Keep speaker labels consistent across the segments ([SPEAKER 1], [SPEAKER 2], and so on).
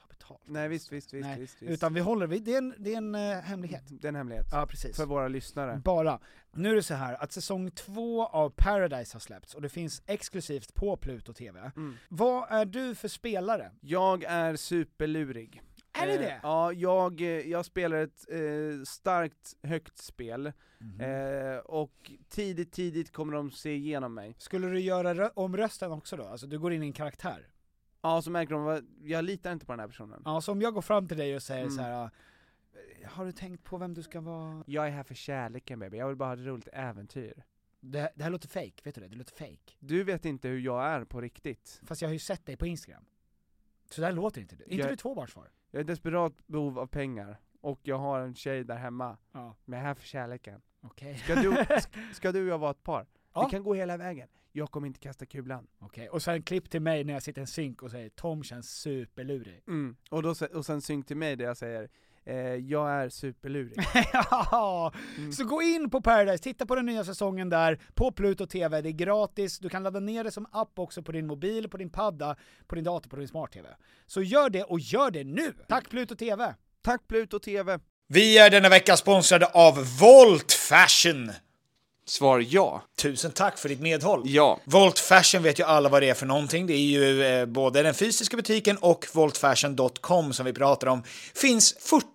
[SPEAKER 1] ta betalt.
[SPEAKER 2] Nej visst, visst, visst,
[SPEAKER 1] Nej,
[SPEAKER 2] visst, visst.
[SPEAKER 1] utan vi håller, vi, det är en, det är en eh, hemlighet.
[SPEAKER 2] Det är en hemlighet.
[SPEAKER 1] Ja, precis.
[SPEAKER 2] För våra lyssnare.
[SPEAKER 1] Bara. Nu är det så här att säsong två av Paradise har släppts och det finns exklusivt på Pluto TV.
[SPEAKER 2] Mm.
[SPEAKER 1] Vad är du för spelare?
[SPEAKER 2] Jag är superlurig.
[SPEAKER 1] Är det
[SPEAKER 2] Eh,
[SPEAKER 1] det?
[SPEAKER 2] Ja, jag, eh, jag spelar ett eh, starkt, högt spel,
[SPEAKER 1] Mhm.
[SPEAKER 2] eh, och tidigt, tidigt kommer de se igenom mig.
[SPEAKER 1] Skulle du göra rö- om rösten också då? Alltså du går in i en karaktär?
[SPEAKER 2] Ja, så märker de att jag litar inte på den här personen.
[SPEAKER 1] Ja, så om jag går fram till dig och säger
[SPEAKER 2] Mm.
[SPEAKER 1] så här. "Ah, har du tänkt på vem du ska vara?
[SPEAKER 2] Jag är här för kärleken baby, jag vill bara ha ett roligt äventyr.
[SPEAKER 1] Det, det här låter fake, vet du det? Det låter fake.
[SPEAKER 2] Du vet inte hur jag är på riktigt.
[SPEAKER 1] Fast jag har ju sett dig på Instagram. Så där låter inte du. Är inte
[SPEAKER 2] Jag-
[SPEAKER 1] du tvåbarnsfar?
[SPEAKER 2] Jag är i desperat behov av pengar, och jag har en tjej där hemma,
[SPEAKER 1] Ja,
[SPEAKER 2] men jag är här för kärleken.
[SPEAKER 1] okej.
[SPEAKER 2] Ska du, sk- ska du och jag vara ett par?
[SPEAKER 1] Ja.
[SPEAKER 2] Vi kan gå hela vägen. Jag kommer inte kasta kulan.
[SPEAKER 1] Okej, och sen klipp till mig när jag sitter i en sink och säger Tom känns superlurig.
[SPEAKER 2] Mm. Och, då, se- och sen synk till mig där jag säger, eh, jag är superlurig.
[SPEAKER 1] ja, så gå in på Paradise, titta på den nya säsongen där, på Pluto TV, det är gratis, du kan ladda ner det som app också på din mobil, på din padda, på din dator, på din smart-TV. Så gör det, och gör det nu! Tack Pluto TV!
[SPEAKER 2] Tack Pluto TV!
[SPEAKER 3] Vi är denna vecka sponsrade av Volt Fashion.
[SPEAKER 4] Svar ja.
[SPEAKER 3] Tusen tack för ditt medhåll.
[SPEAKER 4] Ja.
[SPEAKER 3] Volt Fashion vet ju alla vad det är för någonting. Det är ju eh, både den fysiska butiken och voltfashion.com som vi pratar om. Finns 40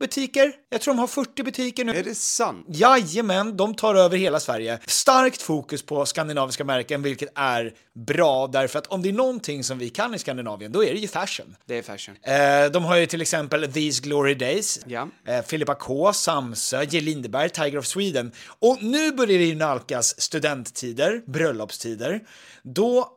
[SPEAKER 3] butiker. Jag tror de har 40 butiker nu.
[SPEAKER 4] Är det sant?
[SPEAKER 3] Jajamän, de tar över hela Sverige. Starkt fokus på skandinaviska märken, vilket är bra därför att om det är någonting som vi kan i Skandinavien, då är det ju fashion.
[SPEAKER 4] Det är fashion.
[SPEAKER 3] Eh, de har ju till exempel These Glory Days,
[SPEAKER 4] Ja.
[SPEAKER 3] eh, Filippa K, Samsö, J Lindeberg, Tiger of Sweden. Och nu börjar det ju nalkas studenttider, bröllopstider. Då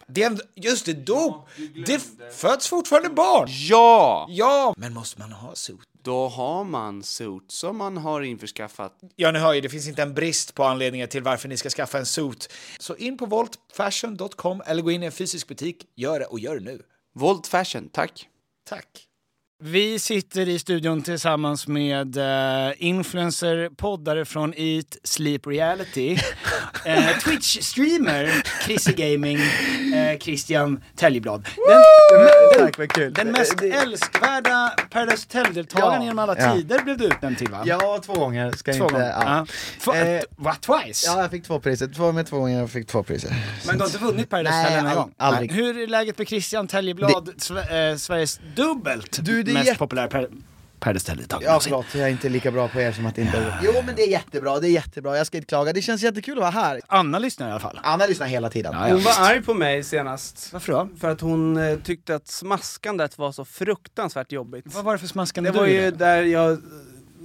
[SPEAKER 3] Det är, en- just det, då, det f- föds fortfarande barn!
[SPEAKER 4] Ja!
[SPEAKER 3] Ja! Men måste man ha suit?
[SPEAKER 4] Då har man suits som man har införskaffat.
[SPEAKER 3] Ja, ni hör ju, det finns inte en brist på anledningar till varför ni ska skaffa en suit. Så in på voltfashion.com eller gå in i en fysisk butik. Gör det och gör det nu.
[SPEAKER 4] Volt fashion, tack.
[SPEAKER 3] Tack.
[SPEAKER 1] Vi sitter i studion tillsammans med eh, influencer, poddare från Eat Sleep Reality, eh, Twitch-streamer, Chrissy Gaming, eh, Christian Täljeblad. Den, den,
[SPEAKER 2] Tack, vad kul.
[SPEAKER 1] den mest
[SPEAKER 2] Eh, det-
[SPEAKER 1] älskvärda Paradise Hotel-deltagaren
[SPEAKER 5] Ja,
[SPEAKER 1] genom alla
[SPEAKER 5] ja.
[SPEAKER 1] tider blev du utnämnd till va?
[SPEAKER 5] Ja, två gånger ska
[SPEAKER 1] Två
[SPEAKER 5] inte...
[SPEAKER 1] gånger. Ja.
[SPEAKER 5] Ja.
[SPEAKER 1] Tw-
[SPEAKER 5] Eh,
[SPEAKER 1] va, twice?
[SPEAKER 5] ja, jag fick två priser. Två med två gånger, jag fick två priser.
[SPEAKER 1] Men du har inte vunnit Paradise
[SPEAKER 5] Nej,
[SPEAKER 1] Hotel en enda
[SPEAKER 5] all-
[SPEAKER 1] gång?
[SPEAKER 5] aldrig.
[SPEAKER 1] Hur är läget med Christian Täljeblad, Sve- eh, Sveriges dubbelt
[SPEAKER 5] Du, det är
[SPEAKER 1] mest
[SPEAKER 5] jätte-
[SPEAKER 1] populära per- Paradise Hotel-deltagare
[SPEAKER 5] Ja förlåt, jag är inte lika bra på er som att inte... Jo men det är jättebra, det är jättebra, jag ska inte klaga. Det känns jättekul att vara här.
[SPEAKER 1] Anna lyssnar i alla fall.
[SPEAKER 5] Anna lyssnar hela tiden.
[SPEAKER 1] Ja, ja.
[SPEAKER 2] Hon var arg på mig senast.
[SPEAKER 1] Varför då?
[SPEAKER 2] För att hon eh, tyckte att smaskandet var så fruktansvärt jobbigt.
[SPEAKER 1] Vad var det för smaskande
[SPEAKER 2] Det
[SPEAKER 1] du
[SPEAKER 2] var ju
[SPEAKER 1] gjorde?
[SPEAKER 2] där jag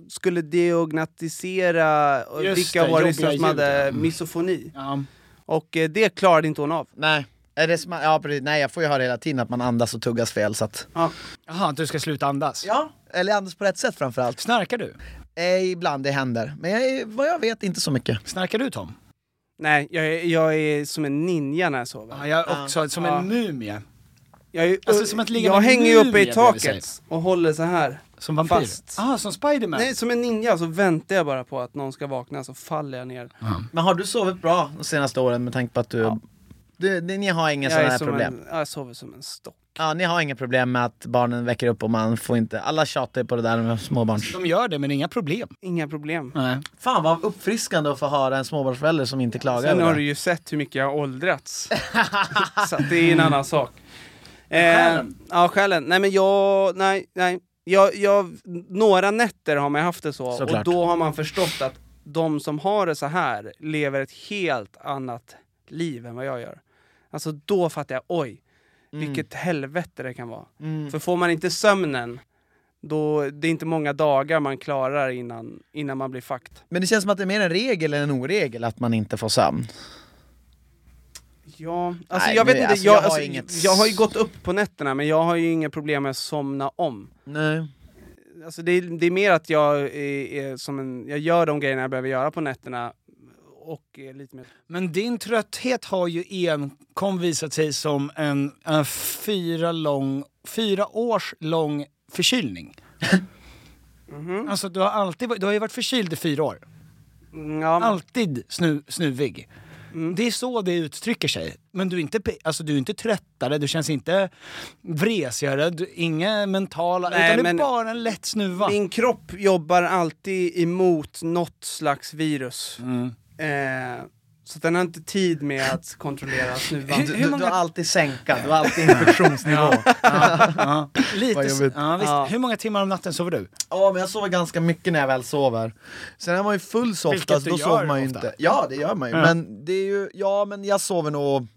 [SPEAKER 2] skulle diagnostisera eh,
[SPEAKER 1] Just
[SPEAKER 2] vilka
[SPEAKER 1] det,
[SPEAKER 2] var det
[SPEAKER 1] jobbiga
[SPEAKER 2] som hade
[SPEAKER 1] ljud, ja. Mm.
[SPEAKER 2] misofoni.
[SPEAKER 1] Ja.
[SPEAKER 2] Och eh, det klarade inte hon av.
[SPEAKER 5] Nej. Är det sma- ja, precis. Nej jag får ju höra hela tiden att man andas och tuggas fel så att...
[SPEAKER 2] Ja.
[SPEAKER 1] Jaha, att du ska sluta andas?
[SPEAKER 5] Ja. Eller andas på rätt sätt framförallt.
[SPEAKER 1] Snarkar du?
[SPEAKER 5] Eh, ibland det händer. Men jag är, vad jag vet inte så mycket.
[SPEAKER 1] Snarkar du Tom?
[SPEAKER 2] Nej, jag är, jag är som en ninja när jag sover.
[SPEAKER 1] Ja, jag också, som
[SPEAKER 2] Ja.
[SPEAKER 1] en mumie.
[SPEAKER 2] Jag, är,
[SPEAKER 1] Alltså, som att ligga
[SPEAKER 2] jag
[SPEAKER 1] med en
[SPEAKER 2] hänger ju uppe
[SPEAKER 1] mumie
[SPEAKER 2] i
[SPEAKER 1] bredvid sig.
[SPEAKER 2] taket och håller så här.
[SPEAKER 1] Som vampyr?
[SPEAKER 2] Fast.
[SPEAKER 1] Ah, som Spiderman?
[SPEAKER 2] Nej, som en ninja så väntar jag bara på att någon ska vakna så faller jag ner.
[SPEAKER 5] Men har du sovit bra de senaste åren med tanke på att du... du, ni- ni har inga
[SPEAKER 2] Jag,
[SPEAKER 5] sådana
[SPEAKER 2] är
[SPEAKER 5] här
[SPEAKER 2] som
[SPEAKER 5] problem?
[SPEAKER 2] en, ja, jag sover som en stock.
[SPEAKER 5] Ja, ni har inga problem med att barnen väcker upp och man får inte... Alla tjatar ju på det där med småbarn.
[SPEAKER 1] De gör det, men inga problem.
[SPEAKER 2] Inga problem.
[SPEAKER 1] Nej.
[SPEAKER 5] Fan vad uppfriskande att få höra en småbarnsförälder som inte klagar
[SPEAKER 2] Sen
[SPEAKER 5] över
[SPEAKER 2] har
[SPEAKER 5] det.
[SPEAKER 2] du ju sett hur mycket jag har åldrats. så att det är en annan sak. själen? Ja, själen. Nej men jag, nej, nej. Jag, jag, några nätter har man haft det så,
[SPEAKER 5] Såklart.
[SPEAKER 2] och då har man förstått att de som har det så här lever ett helt annat liv än vad jag gör. Alltså då fattar jag, oj,
[SPEAKER 5] Mm.
[SPEAKER 2] vilket helvete det kan vara. För får man inte sömnen, då, det är inte många dagar man klarar innan, innan man blir fucked.
[SPEAKER 5] Men det känns som att det är mer en regel än en oregel att man inte får sömn.
[SPEAKER 2] Ja, alltså
[SPEAKER 5] Nej,
[SPEAKER 2] jag
[SPEAKER 5] men
[SPEAKER 2] vet inte,
[SPEAKER 5] alltså,
[SPEAKER 2] jag,
[SPEAKER 5] jag har
[SPEAKER 2] alltså,
[SPEAKER 5] inget-
[SPEAKER 2] jag har ju gått upp på nätterna men jag har ju inga problem med att somna om.
[SPEAKER 5] Nej.
[SPEAKER 2] Alltså det, är, det är mer att jag, är, är som en, jag gör de grejerna jag behöver göra på nätterna och är lite mer...
[SPEAKER 1] Men din trötthet har ju enkom visat sig som en, en fyra, lång, fyra års lång förkylning. Alltså du har, alltid, varit- du har ju varit förkyld i fyra år.
[SPEAKER 2] Mm, Ja,
[SPEAKER 1] Alltid snu, snuvig.
[SPEAKER 2] Mm.
[SPEAKER 1] Det är så det uttrycker sig. Men du är inte, pe- alltså, du är inte tröttare, du känns inte vresigare, du, inga mentala...
[SPEAKER 2] Nej,
[SPEAKER 1] utan det är
[SPEAKER 2] men-
[SPEAKER 1] bara en lätt snuva.
[SPEAKER 2] min kropp jobbar alltid emot något slags virus.
[SPEAKER 1] Mm.
[SPEAKER 2] Eh, så den har inte tid med att kontrollera snuvan.
[SPEAKER 5] Du,
[SPEAKER 1] Hur
[SPEAKER 5] du,
[SPEAKER 1] många-
[SPEAKER 5] du har alltid sänkat, du har alltid infektionsnivå. ja,
[SPEAKER 1] Ja, lite,
[SPEAKER 5] Vad
[SPEAKER 1] s-
[SPEAKER 5] jobbigt.
[SPEAKER 1] ja, visst.
[SPEAKER 2] Ja.
[SPEAKER 1] Hur många timmar om natten sover du?
[SPEAKER 5] men jag sover ganska mycket när jag väl sover. Sen är man ju full så
[SPEAKER 1] Vilket
[SPEAKER 5] ofta, så
[SPEAKER 1] du
[SPEAKER 5] då
[SPEAKER 1] gör
[SPEAKER 5] sover man ju
[SPEAKER 1] ofta.
[SPEAKER 5] inte. Ja, det gör man ju. Men det är ju, ja men jag sover nog,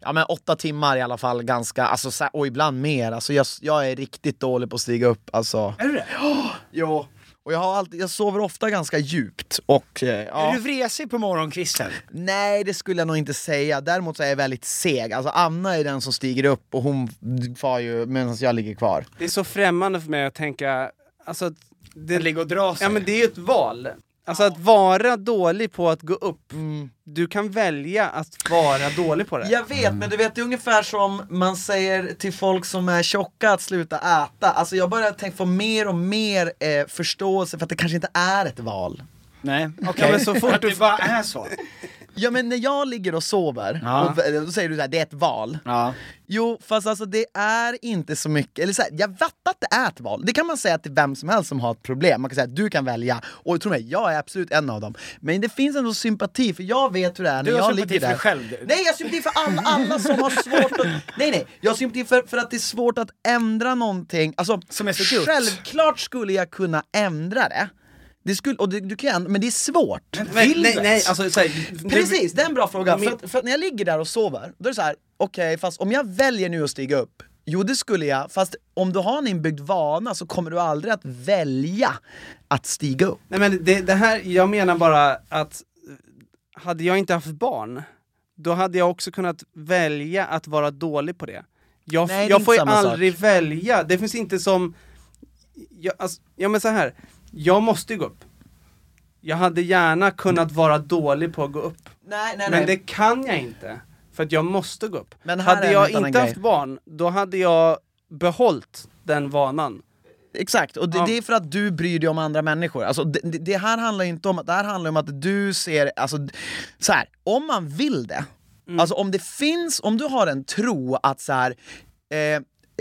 [SPEAKER 5] ja men åtta timmar i alla fall ganska, alltså, så- och ibland mer. Alltså jag, jag är riktigt dålig på att stiga upp, alltså.
[SPEAKER 1] Är du det?
[SPEAKER 5] Jo. Och jag, har alltid, jag sover ofta ganska djupt och... eh, Ja.
[SPEAKER 1] Är du vresig på morgonkvisten?
[SPEAKER 5] Nej, det skulle jag nog inte säga. Däremot så är jag väldigt seg. Alltså Anna är den som stiger upp och hon far ju medan jag ligger kvar.
[SPEAKER 2] Det är så främmande för mig att tänka, alltså... att Det,
[SPEAKER 1] Ligger och drar sig?
[SPEAKER 2] Ja men det är ju ett val. Alltså att vara dålig på att gå upp, du kan välja att vara dålig på det.
[SPEAKER 5] Jag vet,
[SPEAKER 1] Mm.
[SPEAKER 5] men du vet det är ungefär som man säger till folk som är tjocka att sluta äta. Alltså jag börjar tänka, få mer och mer eh, förståelse för att det kanske inte är ett val.
[SPEAKER 1] Nej, okej.
[SPEAKER 2] Ja, men så fort
[SPEAKER 1] Att
[SPEAKER 2] du-
[SPEAKER 1] det bara är så.
[SPEAKER 5] Ja men när jag ligger och sover,
[SPEAKER 1] Ja.
[SPEAKER 5] och, eh, då säger du såhär, det är ett val.
[SPEAKER 1] Ja.
[SPEAKER 5] Jo, fast alltså det är inte så mycket, eller så här, jag fattar att det är ett val. Det kan man säga till vem som helst som har ett problem. Man kan säga att du kan välja, och tro mig, jag är absolut en av dem. Men det finns ändå sympati, för jag vet hur det är när
[SPEAKER 1] har
[SPEAKER 5] jag
[SPEAKER 1] sympati
[SPEAKER 5] ligger
[SPEAKER 1] för
[SPEAKER 5] där.
[SPEAKER 1] dig själv, du.
[SPEAKER 5] Nej, jag har sympati för alla, alla som har svårt att... Nej, nej, jag har sympati för, för att det är svårt att ändra någonting. Alltså,
[SPEAKER 1] Som är så gott.
[SPEAKER 5] självklart skulle jag kunna ändra det. Det skulle, och det, du kan, men det är svårt.
[SPEAKER 2] Men, nej, nej, alltså så här, det-
[SPEAKER 5] Precis, det är en bra fråga. För, att, för att när jag ligger där och sover, då är det så här, okej fast om jag väljer nu att stiga upp, jo det skulle jag, fast om du har en inbyggd vana så kommer du aldrig att välja att stiga upp.
[SPEAKER 2] Nej men det, det här, jag menar bara att eh, hade jag inte haft barn, då hade jag också kunnat välja att vara dålig på det. Jag,
[SPEAKER 5] Nej, det är
[SPEAKER 2] jag
[SPEAKER 5] inte
[SPEAKER 2] får ju
[SPEAKER 5] samma sak.
[SPEAKER 2] aldrig välja, det finns inte som... Jag, alltså, ja men så här. jag måste ju gå upp. Jag hade gärna kunnat vara dålig på att gå upp.
[SPEAKER 5] Nej, nej,
[SPEAKER 2] Men det kan jag inte, för att jag måste gå upp.
[SPEAKER 5] Men här är
[SPEAKER 2] hade
[SPEAKER 5] en
[SPEAKER 2] jag
[SPEAKER 5] helt annan
[SPEAKER 2] inte haft
[SPEAKER 5] grej.
[SPEAKER 2] barn, då hade jag behållit den vanan.
[SPEAKER 5] Exakt, och det, det är för att du bryr dig om andra människor. Alltså, det, det- det här handlar ju inte om att, det här handlar om att du ser, alltså d- så här, om man vill det,
[SPEAKER 1] Mm.
[SPEAKER 5] alltså om det finns, om du har en tro att så här, eh,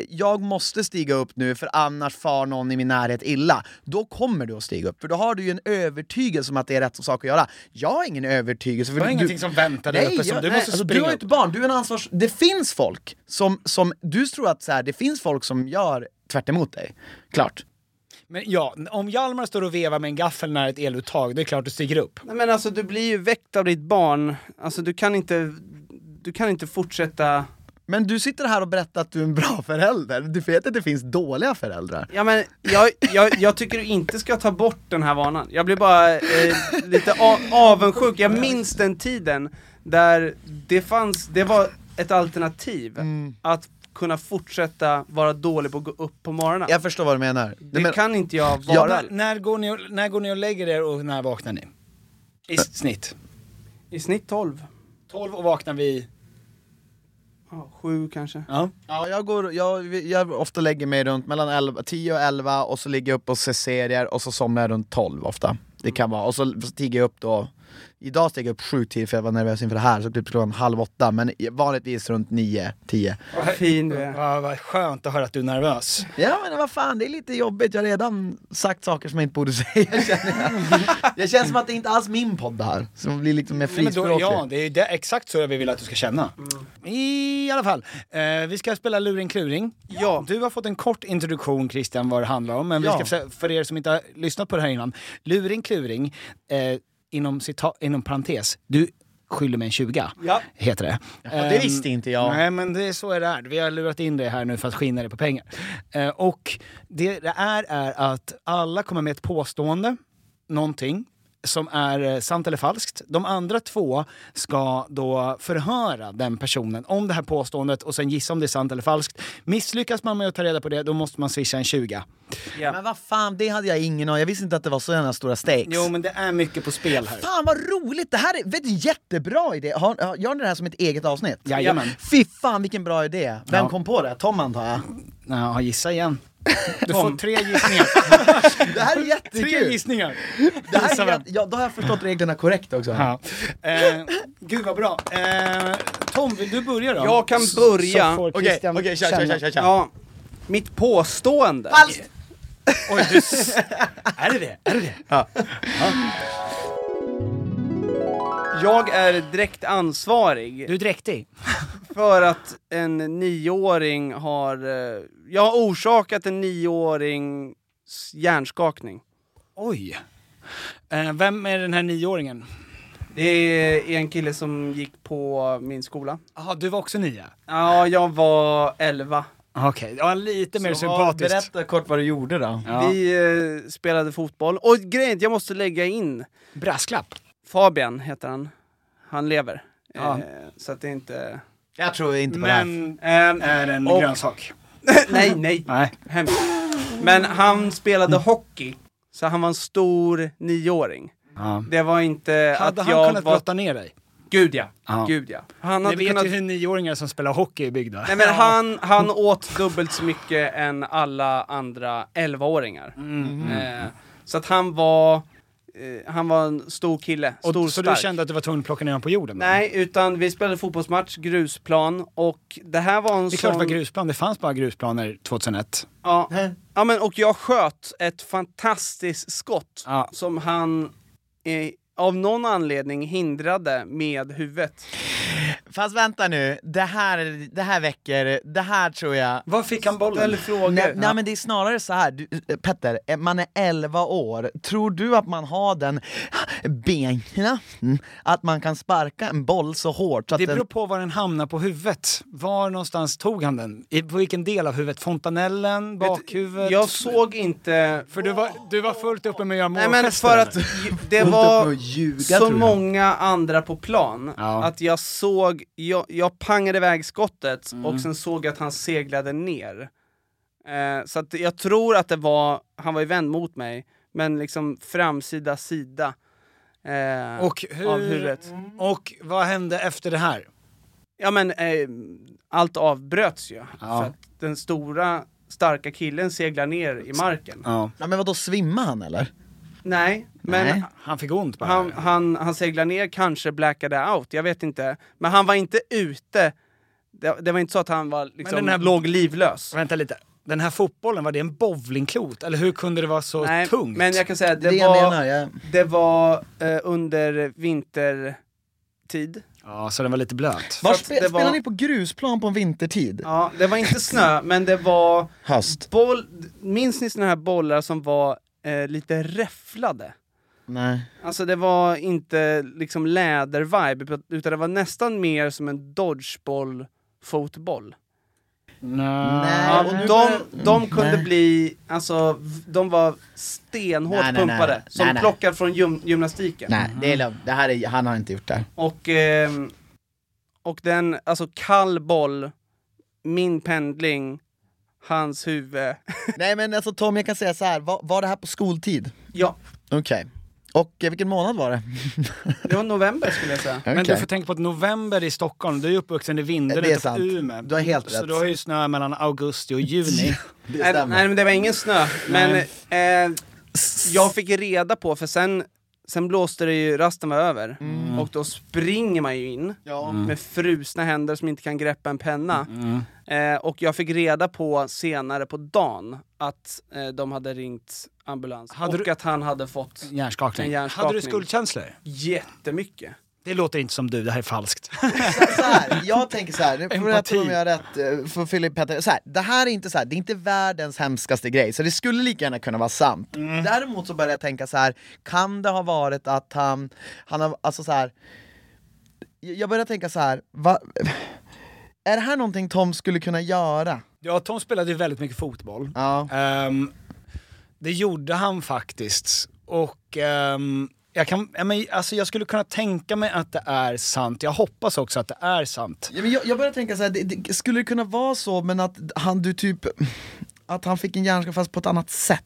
[SPEAKER 5] jag måste stiga upp nu för annars far någon i min närhet illa. Då kommer du att stiga upp, för då har du ju en övertygelse om att det är rätt sak att göra. Jag har ingen övertygelse. För
[SPEAKER 1] Du har ingenting som väntar där uppe som
[SPEAKER 5] jag-
[SPEAKER 1] du måste
[SPEAKER 5] alltså, Du
[SPEAKER 1] springa
[SPEAKER 5] har ju
[SPEAKER 1] upp.
[SPEAKER 5] ett barn, du är en ansvars... Det finns folk som, som du tror att så här, det finns folk som gör tvärt emot dig. Klart.
[SPEAKER 1] Men ja, om Hjalmar står och vevar med en gaffel nära ett eluttag, det är klart du stiger upp.
[SPEAKER 2] Nej, men alltså du blir ju väckt av ditt barn. Alltså du kan inte, du kan inte fortsätta...
[SPEAKER 5] Men du sitter här och berättar att du är en bra förälder. Du vet att det finns dåliga föräldrar.
[SPEAKER 2] Ja men jag, jag, jag tycker du inte ska ta bort den här vanan. Jag blir bara eh, lite a- avundsjuk. Jag minns den tiden där det fanns, det var ett alternativ
[SPEAKER 5] Mm.
[SPEAKER 2] att kunna fortsätta vara dålig på att gå upp på morgonen.
[SPEAKER 5] Jag förstår vad du menar. Du
[SPEAKER 2] det
[SPEAKER 5] men-
[SPEAKER 2] kan inte jag
[SPEAKER 5] Ja,
[SPEAKER 2] vara
[SPEAKER 5] men-
[SPEAKER 1] När går, ni och, när går ni och lägger er och när vaknar ni? I s- snitt.
[SPEAKER 2] i snitt 12.
[SPEAKER 1] 12 och vaknar vi...
[SPEAKER 2] Ja, sju kanske.
[SPEAKER 1] Ja.
[SPEAKER 5] Ja, jag, går, jag, jag ofta lägger mig runt mellan 11, 10 och 11 och så ligger jag upp och ser serier och så somnar jag runt 12 ofta. Det kan vara, och så stiger jag upp då. Idag steg jag upp sju till för jag var nervös inför det här, så typ klockan halv åtta. Men vanligtvis runt 9, 10.
[SPEAKER 2] Vad fin du är.
[SPEAKER 1] Ja, vad skönt att höra att du är nervös.
[SPEAKER 5] Ja men vad fan, det är lite jobbigt. Jag har redan sagt saker som jag inte borde säga känner jag. jag känns som att det inte alls är min podd det här. Som blir liksom mer
[SPEAKER 1] Nej, men då,
[SPEAKER 5] frispråkig.
[SPEAKER 1] ja, det är det, exakt så vi vill att du ska känna. I alla fall, eh, vi ska spela luring kluring.
[SPEAKER 2] Ja.
[SPEAKER 1] Du har fått en kort introduktion Christian vad det handlar om, men
[SPEAKER 5] Ja.
[SPEAKER 1] vi ska, försöka- för er som inte har lyssnat på det här innan. Luring kluring, eh, inom, cita, inom parentes, du skyller mig en 20
[SPEAKER 2] Ja.
[SPEAKER 1] heter det.
[SPEAKER 5] det
[SPEAKER 1] Ehm,
[SPEAKER 5] visste inte jag.
[SPEAKER 1] Nej men det är så är det är. Vi har lurat in det här nu för att skinna dig på pengar. Eh, och det det är är att alla kommer med ett påstående, någonting, som är eh, sant eller falskt. De andra två ska då förhöra den personen om det här påståendet och sen gissa om det är sant eller falskt. Misslyckas man med att ta reda på det, då måste man swisha en 20.
[SPEAKER 5] Men vad fan, det hade jag ingen aning Jag visste inte att det var så jävla stora stakes.
[SPEAKER 1] Jo men det är mycket på spel här.
[SPEAKER 5] Fan vad roligt! Det här är vet, du, jättebra idé! Har, har, gör ni det här som ett eget avsnitt?
[SPEAKER 1] Jajamän.
[SPEAKER 5] Fy fan vilken bra idé! Vem
[SPEAKER 1] Ja.
[SPEAKER 5] kom på det? Tom antar jag?
[SPEAKER 1] Ja, gissa igen. Du får tre gissningar.
[SPEAKER 5] Det här är
[SPEAKER 1] tre
[SPEAKER 5] jättekul!
[SPEAKER 1] gissningar.
[SPEAKER 5] Det här
[SPEAKER 1] Gissa
[SPEAKER 5] är
[SPEAKER 1] vem.
[SPEAKER 5] jätt, ja, då har jag förstått reglerna korrekt också.
[SPEAKER 1] Ja. Eh, gud vad bra. Eh, Tom, vill du börja då?
[SPEAKER 2] Jag kan
[SPEAKER 1] S-
[SPEAKER 2] börja.
[SPEAKER 1] så får
[SPEAKER 5] Okej,
[SPEAKER 1] Christian
[SPEAKER 5] okej, kör, kör,
[SPEAKER 1] känna.
[SPEAKER 5] kör, kör, kör.
[SPEAKER 2] Ja, mitt påstående.
[SPEAKER 5] Falskt!
[SPEAKER 1] Oj, du... s- är det det? Är det det?
[SPEAKER 2] Jag är direkt ansvarig
[SPEAKER 1] Du är dräktig.
[SPEAKER 2] för att en nioåring har... eh, Jag har orsakat en nioårings hjärnskakning.
[SPEAKER 1] Oj. Eh, vem är den här nioåringen?
[SPEAKER 2] Det är en kille som gick på min skola.
[SPEAKER 1] Jaha, du var också nio?
[SPEAKER 2] Ja, jag var 11.
[SPEAKER 1] Okej, ja, lite mer sympatiskt.
[SPEAKER 5] Berätta kort vad du gjorde då.
[SPEAKER 1] Ja.
[SPEAKER 2] Vi eh, spelade fotboll. Och grejen är att jag måste lägga in
[SPEAKER 1] Brasklapp.
[SPEAKER 2] Fabian, heter han. Han lever.
[SPEAKER 1] Ja.
[SPEAKER 2] Eh, så att det är inte...
[SPEAKER 5] Jag tror inte på det här.
[SPEAKER 1] Men är en
[SPEAKER 2] och-
[SPEAKER 1] grönsak.
[SPEAKER 2] nej, nej.
[SPEAKER 1] Nej.
[SPEAKER 2] Hemskt. Men han spelade hockey, så han var en stor nioåring.
[SPEAKER 1] Ja.
[SPEAKER 2] Det var inte
[SPEAKER 1] Hade
[SPEAKER 2] att
[SPEAKER 1] han
[SPEAKER 2] jag
[SPEAKER 1] kunnat
[SPEAKER 2] var...
[SPEAKER 1] brotta ner dig?
[SPEAKER 2] Gud ja.
[SPEAKER 1] Ja.
[SPEAKER 2] Gud ja. Han
[SPEAKER 1] Ni
[SPEAKER 2] hade
[SPEAKER 1] vet
[SPEAKER 2] kunnat...
[SPEAKER 1] ju hur nioåringar som spelar hockey är byggda.
[SPEAKER 2] Nej men han, han åt dubbelt så mycket än alla andra 11-åringar.
[SPEAKER 1] Mm,
[SPEAKER 2] Eh, så att han var, eh, han var en stor kille,
[SPEAKER 1] Och,
[SPEAKER 2] stor
[SPEAKER 1] så
[SPEAKER 2] stark.
[SPEAKER 1] du kände att du var tvungen att plocka ner honom på jorden?
[SPEAKER 2] Nej, utan vi spelade fotbollsmatch, grusplan och det här var en
[SPEAKER 1] Det är klart
[SPEAKER 2] sån...
[SPEAKER 1] det var grusplan, det fanns bara grusplaner 2001.
[SPEAKER 2] Ja. ja, men och jag sköt ett fantastiskt skott
[SPEAKER 1] Ja.
[SPEAKER 2] som han eh, av någon anledning hindrade med huvudet.
[SPEAKER 5] Fast vänta nu, det här, det här väcker, det här tror jag
[SPEAKER 1] Var fick han bollen?
[SPEAKER 2] Eller frågor.
[SPEAKER 5] Nej, nej men det är snarare så här, du, eh, Petter, eh, man är 11 år, tror du att man har den benkraften att man kan sparka en boll så hårt så att
[SPEAKER 1] Det beror
[SPEAKER 5] den...
[SPEAKER 1] på var den hamnar på huvudet. Var någonstans tog han den? I, på vilken del av huvudet? Fontanellen? Bakhuvudet?
[SPEAKER 2] Jag såg inte...
[SPEAKER 1] För du var, du var fullt uppe med att göra
[SPEAKER 2] Nej men
[SPEAKER 1] målgester.
[SPEAKER 2] för att ju- det var
[SPEAKER 5] med att ljuga, tror
[SPEAKER 2] så
[SPEAKER 5] jag.
[SPEAKER 2] många andra på plan
[SPEAKER 1] Ja.
[SPEAKER 2] att jag såg, jag, jag pangade iväg skottet
[SPEAKER 5] Mm.
[SPEAKER 2] och sen såg jag att han seglade ner. Eh, så att jag tror att det var, han var ju vänd mot mig, men liksom framsida sida. eh,
[SPEAKER 1] Och hur-
[SPEAKER 2] Av huvudet.
[SPEAKER 1] Och vad hände efter det här?
[SPEAKER 2] Ja men eh, allt avbröts ju. För att den stora starka killen seglar ner i marken.
[SPEAKER 3] Ja.
[SPEAKER 5] Ja, men vadå, svimmar han eller?
[SPEAKER 2] Nej, men
[SPEAKER 5] Nej.
[SPEAKER 3] Han fick ont bara.
[SPEAKER 2] Han, han, han seglar ner, kanske blackade out, jag vet inte. Men han var inte ute. Det, det var inte så att han var liksom,
[SPEAKER 3] den här-
[SPEAKER 2] låg livlös.
[SPEAKER 3] Vänta lite. Den här fotbollen, var det en bowlingklot? Eller hur kunde det vara så
[SPEAKER 2] Nej,
[SPEAKER 3] tungt?
[SPEAKER 2] men jag kan säga att
[SPEAKER 5] Det är
[SPEAKER 2] det
[SPEAKER 5] det jag
[SPEAKER 2] var,
[SPEAKER 5] menar, ja.
[SPEAKER 2] det var eh, under vintertid.
[SPEAKER 3] Ja, så den var lite blöt.
[SPEAKER 5] Var
[SPEAKER 2] att
[SPEAKER 5] spe,
[SPEAKER 2] det var-
[SPEAKER 5] Spelar ni på grusplan på en vintertid?
[SPEAKER 2] Ja, det var inte snö, men det var
[SPEAKER 5] Höst?
[SPEAKER 2] boll... Minns ni såna här bollar som var eh, lite räfflade?
[SPEAKER 5] Nej.
[SPEAKER 2] Alltså det var inte liksom läder-vibe, utan det var nästan mer som en dodgeball-fotboll.
[SPEAKER 5] Nej.
[SPEAKER 2] Ja,
[SPEAKER 5] och
[SPEAKER 2] och
[SPEAKER 5] nu-
[SPEAKER 2] de, de kunde
[SPEAKER 5] Nej.
[SPEAKER 2] bli, alltså, v- de var stenhårt
[SPEAKER 5] Nej, nej, nej.
[SPEAKER 2] pumpade. Som
[SPEAKER 5] Nej, nej.
[SPEAKER 2] plockad från gym, gymnastiken.
[SPEAKER 5] Nej, det är lugnt. Det här är, han har inte gjort det.
[SPEAKER 2] Och, ehm, och den, alltså kall boll, min pendling, hans huvud.
[SPEAKER 5] Nej men alltså Tom, jag kan säga så här. var, var det här på skoltid?
[SPEAKER 2] ja,
[SPEAKER 5] Okej. Och eh, vilken månad var det?
[SPEAKER 2] det var november skulle jag säga.
[SPEAKER 3] Men
[SPEAKER 5] Okej.
[SPEAKER 3] du får tänka på att november i Stockholm, du är uppvuxen i Vindeln
[SPEAKER 5] Det är
[SPEAKER 3] utanför
[SPEAKER 5] sant.
[SPEAKER 3] Umeå.
[SPEAKER 5] Du har helt
[SPEAKER 3] Så
[SPEAKER 5] rätt.
[SPEAKER 3] du har ju snö mellan augusti och juni.
[SPEAKER 5] Det
[SPEAKER 2] Nej,
[SPEAKER 5] stämmer.
[SPEAKER 2] nej men det var ingen snö. Men eh, jag fick reda på, för sen, sen blåste det ju, rasten var över. Och då springer man ju in med frusna händer som inte kan greppa en penna. Eh, och jag fick reda på senare på dagen att eh, de hade ringt ambulans
[SPEAKER 3] Hade
[SPEAKER 2] och
[SPEAKER 3] du-
[SPEAKER 2] att han hade fått
[SPEAKER 3] Hjärnskakning.
[SPEAKER 2] En hjärnskakning.
[SPEAKER 3] Hade du skuldkänslor?
[SPEAKER 2] jättemycket.
[SPEAKER 3] Det låter inte som du, det här är falskt.
[SPEAKER 5] så här, jag tänker så här, nu får du rätta
[SPEAKER 3] Empati.
[SPEAKER 5] mig om jag har rätt, eh, för Philip Petter. Så här, det här är inte så här, det är inte världens hemskaste grej, så det skulle lika gärna kunna vara sant. Däremot så börjar jag tänka så här, kan det ha varit att han, han har, alltså så här. Jag börjar tänka så här, va, är det här någonting Tom skulle kunna göra?
[SPEAKER 3] Ja, Tom spelade ju väldigt mycket fotboll.
[SPEAKER 5] Ja.
[SPEAKER 3] Ehm, det gjorde han faktiskt. Och ehm, jag, kan, ja, men, alltså, jag skulle kunna tänka mig att det är sant. Jag hoppas också att det är sant.
[SPEAKER 5] Ja, men jag, jag börjar tänka så här, det, det, skulle det kunna vara så men att han du typ, att han fick en hjärnskada fast på ett annat sätt?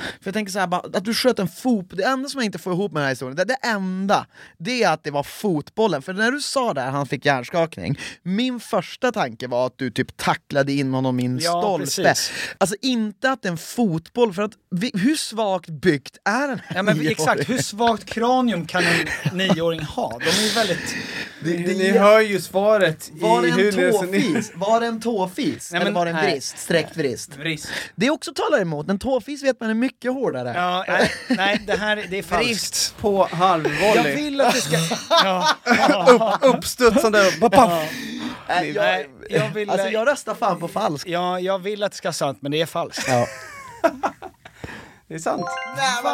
[SPEAKER 5] För jag tänker så här, bara, att du sköt en fotboll, det enda som jag inte får ihop med den här historien, det, det enda, det är att det var fotbollen. För när du sa där han fick hjärnskakning, min första tanke var att du typ tacklade in honom i en
[SPEAKER 3] Ja,
[SPEAKER 5] stolpe.
[SPEAKER 3] precis.
[SPEAKER 5] Alltså inte att det är en fotboll, för att vi, hur svagt byggt är den här
[SPEAKER 3] Ja, men,
[SPEAKER 5] nioåringen?
[SPEAKER 3] exakt, hur svagt kranium kan en nioåring ha? De är ju väldigt...
[SPEAKER 5] Det- det-
[SPEAKER 2] Ni hör ju svaret
[SPEAKER 5] Var det
[SPEAKER 2] i hur
[SPEAKER 5] en tåfis? Var det en tåfis?
[SPEAKER 3] Nej,
[SPEAKER 5] Eller
[SPEAKER 3] men-
[SPEAKER 5] var det en
[SPEAKER 3] nej.
[SPEAKER 5] vrist? Sträckt vrist?
[SPEAKER 2] Brist.
[SPEAKER 5] Det också talar emot, en tåfis vet man är mycket hårdare.
[SPEAKER 3] Ja, nej, nej, det här det är falskt.
[SPEAKER 2] Brist på
[SPEAKER 3] Jag
[SPEAKER 2] halvvolley.
[SPEAKER 3] vill att det ska... Ja.
[SPEAKER 2] Uppstudsande, bara paff.
[SPEAKER 5] Äh, jag,
[SPEAKER 3] Nej, jag vill-
[SPEAKER 5] alltså jag röstar fan på falskt.
[SPEAKER 3] Ja, jag vill att det ska vara sant, men det är falskt.
[SPEAKER 5] Ja.
[SPEAKER 2] Det är sant.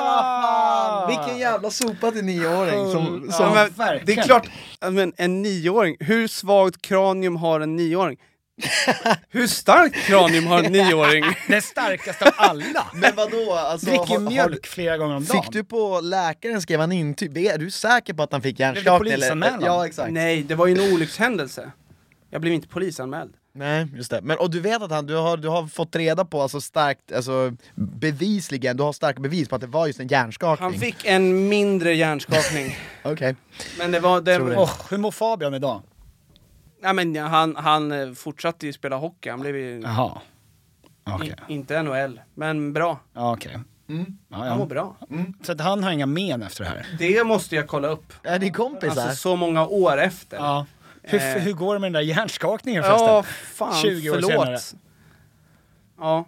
[SPEAKER 5] Fan, vilken jävla sopa till nioåring som, som
[SPEAKER 2] Ja, men det
[SPEAKER 3] Mm, verkligen.
[SPEAKER 2] är klart, ja, men en nioåring, hur svagt kranium har en nioåring? Hur starkt kranium har en nioåring?
[SPEAKER 3] Den starkaste av alla!
[SPEAKER 5] Men vadå, alltså,
[SPEAKER 3] Dricker
[SPEAKER 5] har- har-
[SPEAKER 3] mjölk flera gånger om dagen.
[SPEAKER 5] Fick du på läkaren skrev han intyg, är du säker på att han fick
[SPEAKER 3] det
[SPEAKER 5] hjärnskakning?
[SPEAKER 3] polisanmälan?
[SPEAKER 5] Ja exakt. Nej.
[SPEAKER 2] Nej, det var ju en olyckshändelse. Jag blev inte polisanmäld.
[SPEAKER 5] just det. Men och du vet att han, du har, du har fått reda på alltså starkt, alltså bevisligen, du har starka bevis på att det var just en hjärnskakning.
[SPEAKER 2] Han fick en mindre hjärnskakning.
[SPEAKER 5] Okej.
[SPEAKER 2] Men det var... Det,
[SPEAKER 5] det.
[SPEAKER 2] och,
[SPEAKER 3] Åh, hur mår Fabian idag?
[SPEAKER 2] ja, men han, han eh, fortsatte ju spela hockey, han blev ju...
[SPEAKER 3] Jaha. Ah, Okej.
[SPEAKER 2] i- Inte NHL, men bra.
[SPEAKER 3] Ja, okej.
[SPEAKER 5] Mm.
[SPEAKER 3] Ja,
[SPEAKER 2] Han mår
[SPEAKER 3] ja.
[SPEAKER 2] bra.
[SPEAKER 3] Så att han har inga men efter det här?
[SPEAKER 2] Det måste jag kolla upp.
[SPEAKER 5] Är ni kompisar?
[SPEAKER 2] Alltså så många år efter.
[SPEAKER 3] Ja. Hur, hur går det med den där hjärnskakningen förresten?
[SPEAKER 2] Ja, fan
[SPEAKER 3] 20 år
[SPEAKER 2] förlåt.
[SPEAKER 3] senare.
[SPEAKER 2] Ja.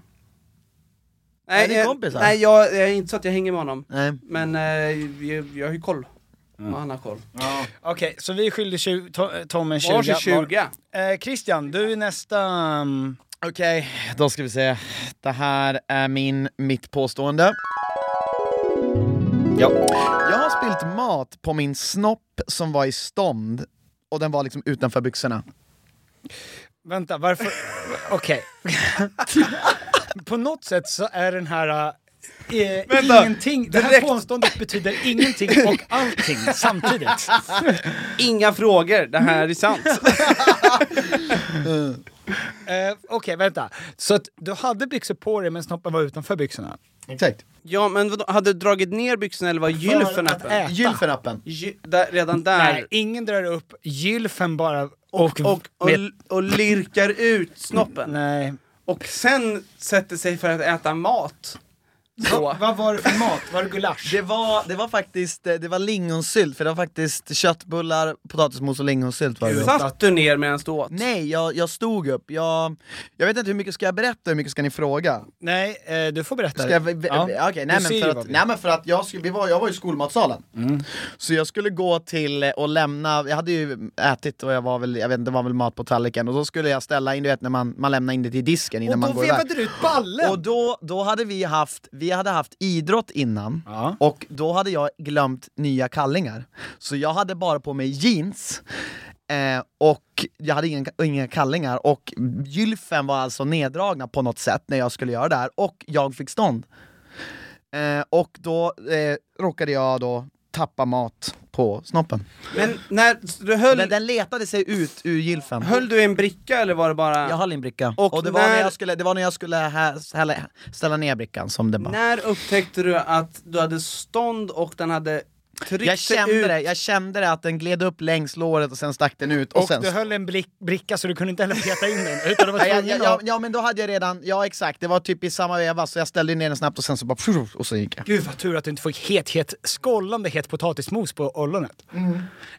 [SPEAKER 5] Är ni
[SPEAKER 2] jag-
[SPEAKER 5] kompisar?
[SPEAKER 2] Nej, jag, jag är inte så att jag hänger med honom.
[SPEAKER 5] Nej.
[SPEAKER 2] Men eh, jag, jag har ju koll.
[SPEAKER 3] Mm.
[SPEAKER 2] Och han har koll.
[SPEAKER 3] Okej, så vi skyllde tju- to- eh, Tom en 20.
[SPEAKER 2] Varsin 20.
[SPEAKER 3] Eh, Christian, du är nästa... mm,
[SPEAKER 5] Okej, då ska vi se. Det här är min, mitt påstående. Ja. Jag har spilt mat på min snopp som var i stånd och den var liksom utanför byxorna.
[SPEAKER 3] Vänta, varför... Okej. På något sätt så är den här... Eh,
[SPEAKER 2] Vänta,
[SPEAKER 3] ingenting, det här
[SPEAKER 2] direkt-
[SPEAKER 3] påståendet betyder ingenting och allting samtidigt.
[SPEAKER 2] Inga frågor, det här är sant.
[SPEAKER 3] Eh, Okej, vänta. Så att du hade byxor på dig men snoppen var utanför byxorna?
[SPEAKER 5] Exakt.
[SPEAKER 2] ja, men vadå, hade du dragit ner byxorna eller var gylfen öppen?
[SPEAKER 3] Äta.
[SPEAKER 5] Gylfenappen.
[SPEAKER 2] Gy- där- Redan där.
[SPEAKER 3] Nej, ingen drar upp gylfen bara och...
[SPEAKER 2] Och, och,
[SPEAKER 3] med-
[SPEAKER 2] och lirkar ut snoppen.
[SPEAKER 3] nej.
[SPEAKER 2] och sen sätter sig för att äta mat. Så.
[SPEAKER 1] Vad var det för mat? Var det gulasch?
[SPEAKER 5] Det var, det var faktiskt eh, det var lingonsylt, för det var faktiskt köttbullar, potatismos och lingonsylt var det.
[SPEAKER 2] Satt du ner medan du åt?
[SPEAKER 5] Nej, jag, jag stod upp. Jag, jag vet inte hur mycket ska jag berätta, hur mycket ska ni fråga?
[SPEAKER 1] Nej, eh, du får berätta.
[SPEAKER 5] Ska jag, v- v-
[SPEAKER 1] Ja.
[SPEAKER 5] Okej, nej,
[SPEAKER 1] Du ser
[SPEAKER 5] men
[SPEAKER 1] ju
[SPEAKER 5] för
[SPEAKER 1] vad
[SPEAKER 5] att,
[SPEAKER 1] vi- Mm.
[SPEAKER 5] nej men för att jag, skulle, vi var, jag var i skolmatsalen. Så jag skulle gå till eh, och lämna, jag hade ju ätit och jag var väl, jag vet inte, det var väl mat på tallriken. Och då skulle jag ställa in, du vet när man, man lämnar in det till disken innan
[SPEAKER 1] Och
[SPEAKER 5] man
[SPEAKER 1] då
[SPEAKER 5] går iväg.
[SPEAKER 1] vevade du ut ballen!
[SPEAKER 5] Och då, då hade vi haft, vi hade haft idrott innan,
[SPEAKER 1] Ja.
[SPEAKER 5] och då hade jag glömt nya kallingar. Så jag hade bara på mig jeans, eh, och jag hade inga, inga kallingar, och gylfen var alltså neddragna på något sätt när jag skulle göra det här, och jag fick stånd. Eh, och då eh, råkade jag då tappa mat på snoppen.
[SPEAKER 2] Men när du höll,
[SPEAKER 5] Den, den letade sig ut ur gylfen.
[SPEAKER 2] höll du i en bricka eller var det bara...
[SPEAKER 5] Jag höll i en bricka.
[SPEAKER 2] Och
[SPEAKER 5] Och, det, var
[SPEAKER 2] när-
[SPEAKER 5] när jag skulle, det var när jag skulle här, hälla- ställa ner brickan som det bara...
[SPEAKER 2] När upptäckte du att du hade stånd och den hade tryckt
[SPEAKER 5] Jag
[SPEAKER 2] sig
[SPEAKER 5] kände
[SPEAKER 2] ut?
[SPEAKER 5] det, jag kände det att den gled upp längs låret och sen stack den ut och,
[SPEAKER 1] Och
[SPEAKER 5] sen...
[SPEAKER 1] du höll en blick, bricka så du kunde inte heller peta in den, utan du var
[SPEAKER 5] Ja, ja, ja,
[SPEAKER 1] tvungen
[SPEAKER 5] ja,
[SPEAKER 1] att...
[SPEAKER 5] ja men då hade jag redan, ja exakt, det var typ i samma veva så jag ställde ner den snabbt och sen så bara pshush, och så gick jag.
[SPEAKER 1] Gud vad tur att du inte fick het, het, skållande het potatismos på ollonet.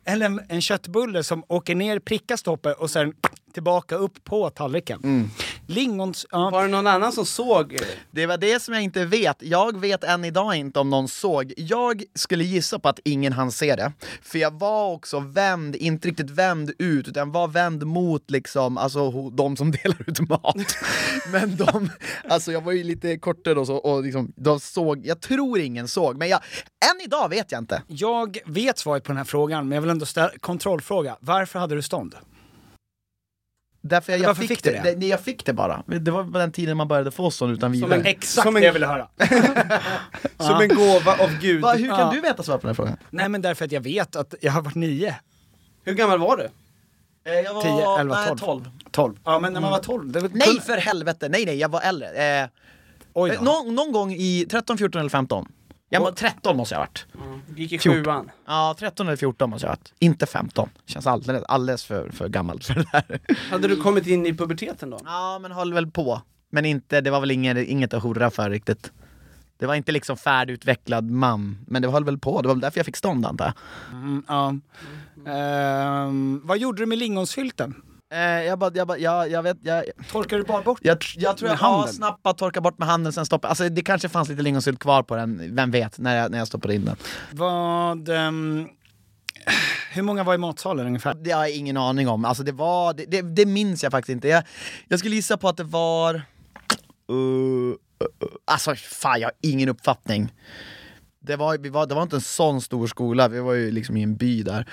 [SPEAKER 1] Eller en, en köttbulle som åker ner, prickar stoppet och sen tillbaka upp på tallriken. Lingons... Ja.
[SPEAKER 2] Var det någon annan som såg?
[SPEAKER 5] Det var det som jag inte vet, jag vet än idag inte om någon såg. Jag skulle gissa på att ingen hann se det. För jag var också vänd, inte riktigt vänd ut, utan var vänd mot liksom, alltså ho- de som delar ut mat. men de, alltså jag var ju lite kortare och så, och liksom, de såg, jag tror ingen såg, men jag, än idag vet jag inte.
[SPEAKER 1] Jag vet svaret på den här frågan, men jag vill ändå ställa kontrollfråga. Varför hade du stånd?
[SPEAKER 5] Därför jag, jag
[SPEAKER 1] Varför
[SPEAKER 5] fick,
[SPEAKER 1] fick du
[SPEAKER 5] det.
[SPEAKER 1] det?
[SPEAKER 5] det? nej, Jag fick det bara. Det var på den tiden man började få sån utan vidare.
[SPEAKER 2] en
[SPEAKER 1] Exakt
[SPEAKER 2] Som en-
[SPEAKER 1] det jag ville höra.
[SPEAKER 2] Som en gåva av gud.
[SPEAKER 5] Va, hur kan
[SPEAKER 1] Ja.
[SPEAKER 5] du veta svar på den här frågan?
[SPEAKER 1] Nej men därför att jag vet att jag har varit nio.
[SPEAKER 2] Hur gammal var du?
[SPEAKER 5] Eh, Jag var
[SPEAKER 1] 10, 11, 12. 12. Ja men när man var 12. Det var...
[SPEAKER 5] Nej för helvete, nej nej jag var äldre. Eh,
[SPEAKER 1] Oj
[SPEAKER 5] eh,
[SPEAKER 1] då.
[SPEAKER 5] någon, någon gång i 13, 14 eller 15. Jag var 13 måste jag ha varit.
[SPEAKER 2] Gick i sjuan.
[SPEAKER 5] Ja, 13 eller 14 måste jag ha varit. Inte 15. Känns alldeles, alldeles för, för gammalt för det där.
[SPEAKER 2] Hade du kommit in i puberteten då?
[SPEAKER 5] Ja, men höll väl på. Men inte, det var väl inget, inget att hurra för riktigt. Det var inte liksom färdigutvecklad man, men det höll väl på. Det var väl därför jag fick stånd antar jag.
[SPEAKER 1] Ja. Ehm, vad gjorde du med lingonsfylten?
[SPEAKER 5] Eh, jag bara, jag bara, jag, jag vet, jag,
[SPEAKER 1] Torkade du bara bort
[SPEAKER 5] Jag, tr- jag tror
[SPEAKER 1] Med
[SPEAKER 5] jag har
[SPEAKER 1] handen?
[SPEAKER 5] snabbt torkat bort med handen sen stoppa. Alltså det kanske fanns lite lingonsylt kvar på den, vem vet, när jag, när jag stoppade in den.
[SPEAKER 1] Vad... ehm, hur många var i matsalen ungefär?
[SPEAKER 5] Det har jag ingen aning om, alltså det var, det, det, det minns jag faktiskt inte. Jag, jag skulle gissa på att det var... Uh, uh, uh, alltså fan, jag har ingen uppfattning. Det var, vi var, det var inte en sån stor skola, vi var ju liksom i en by där.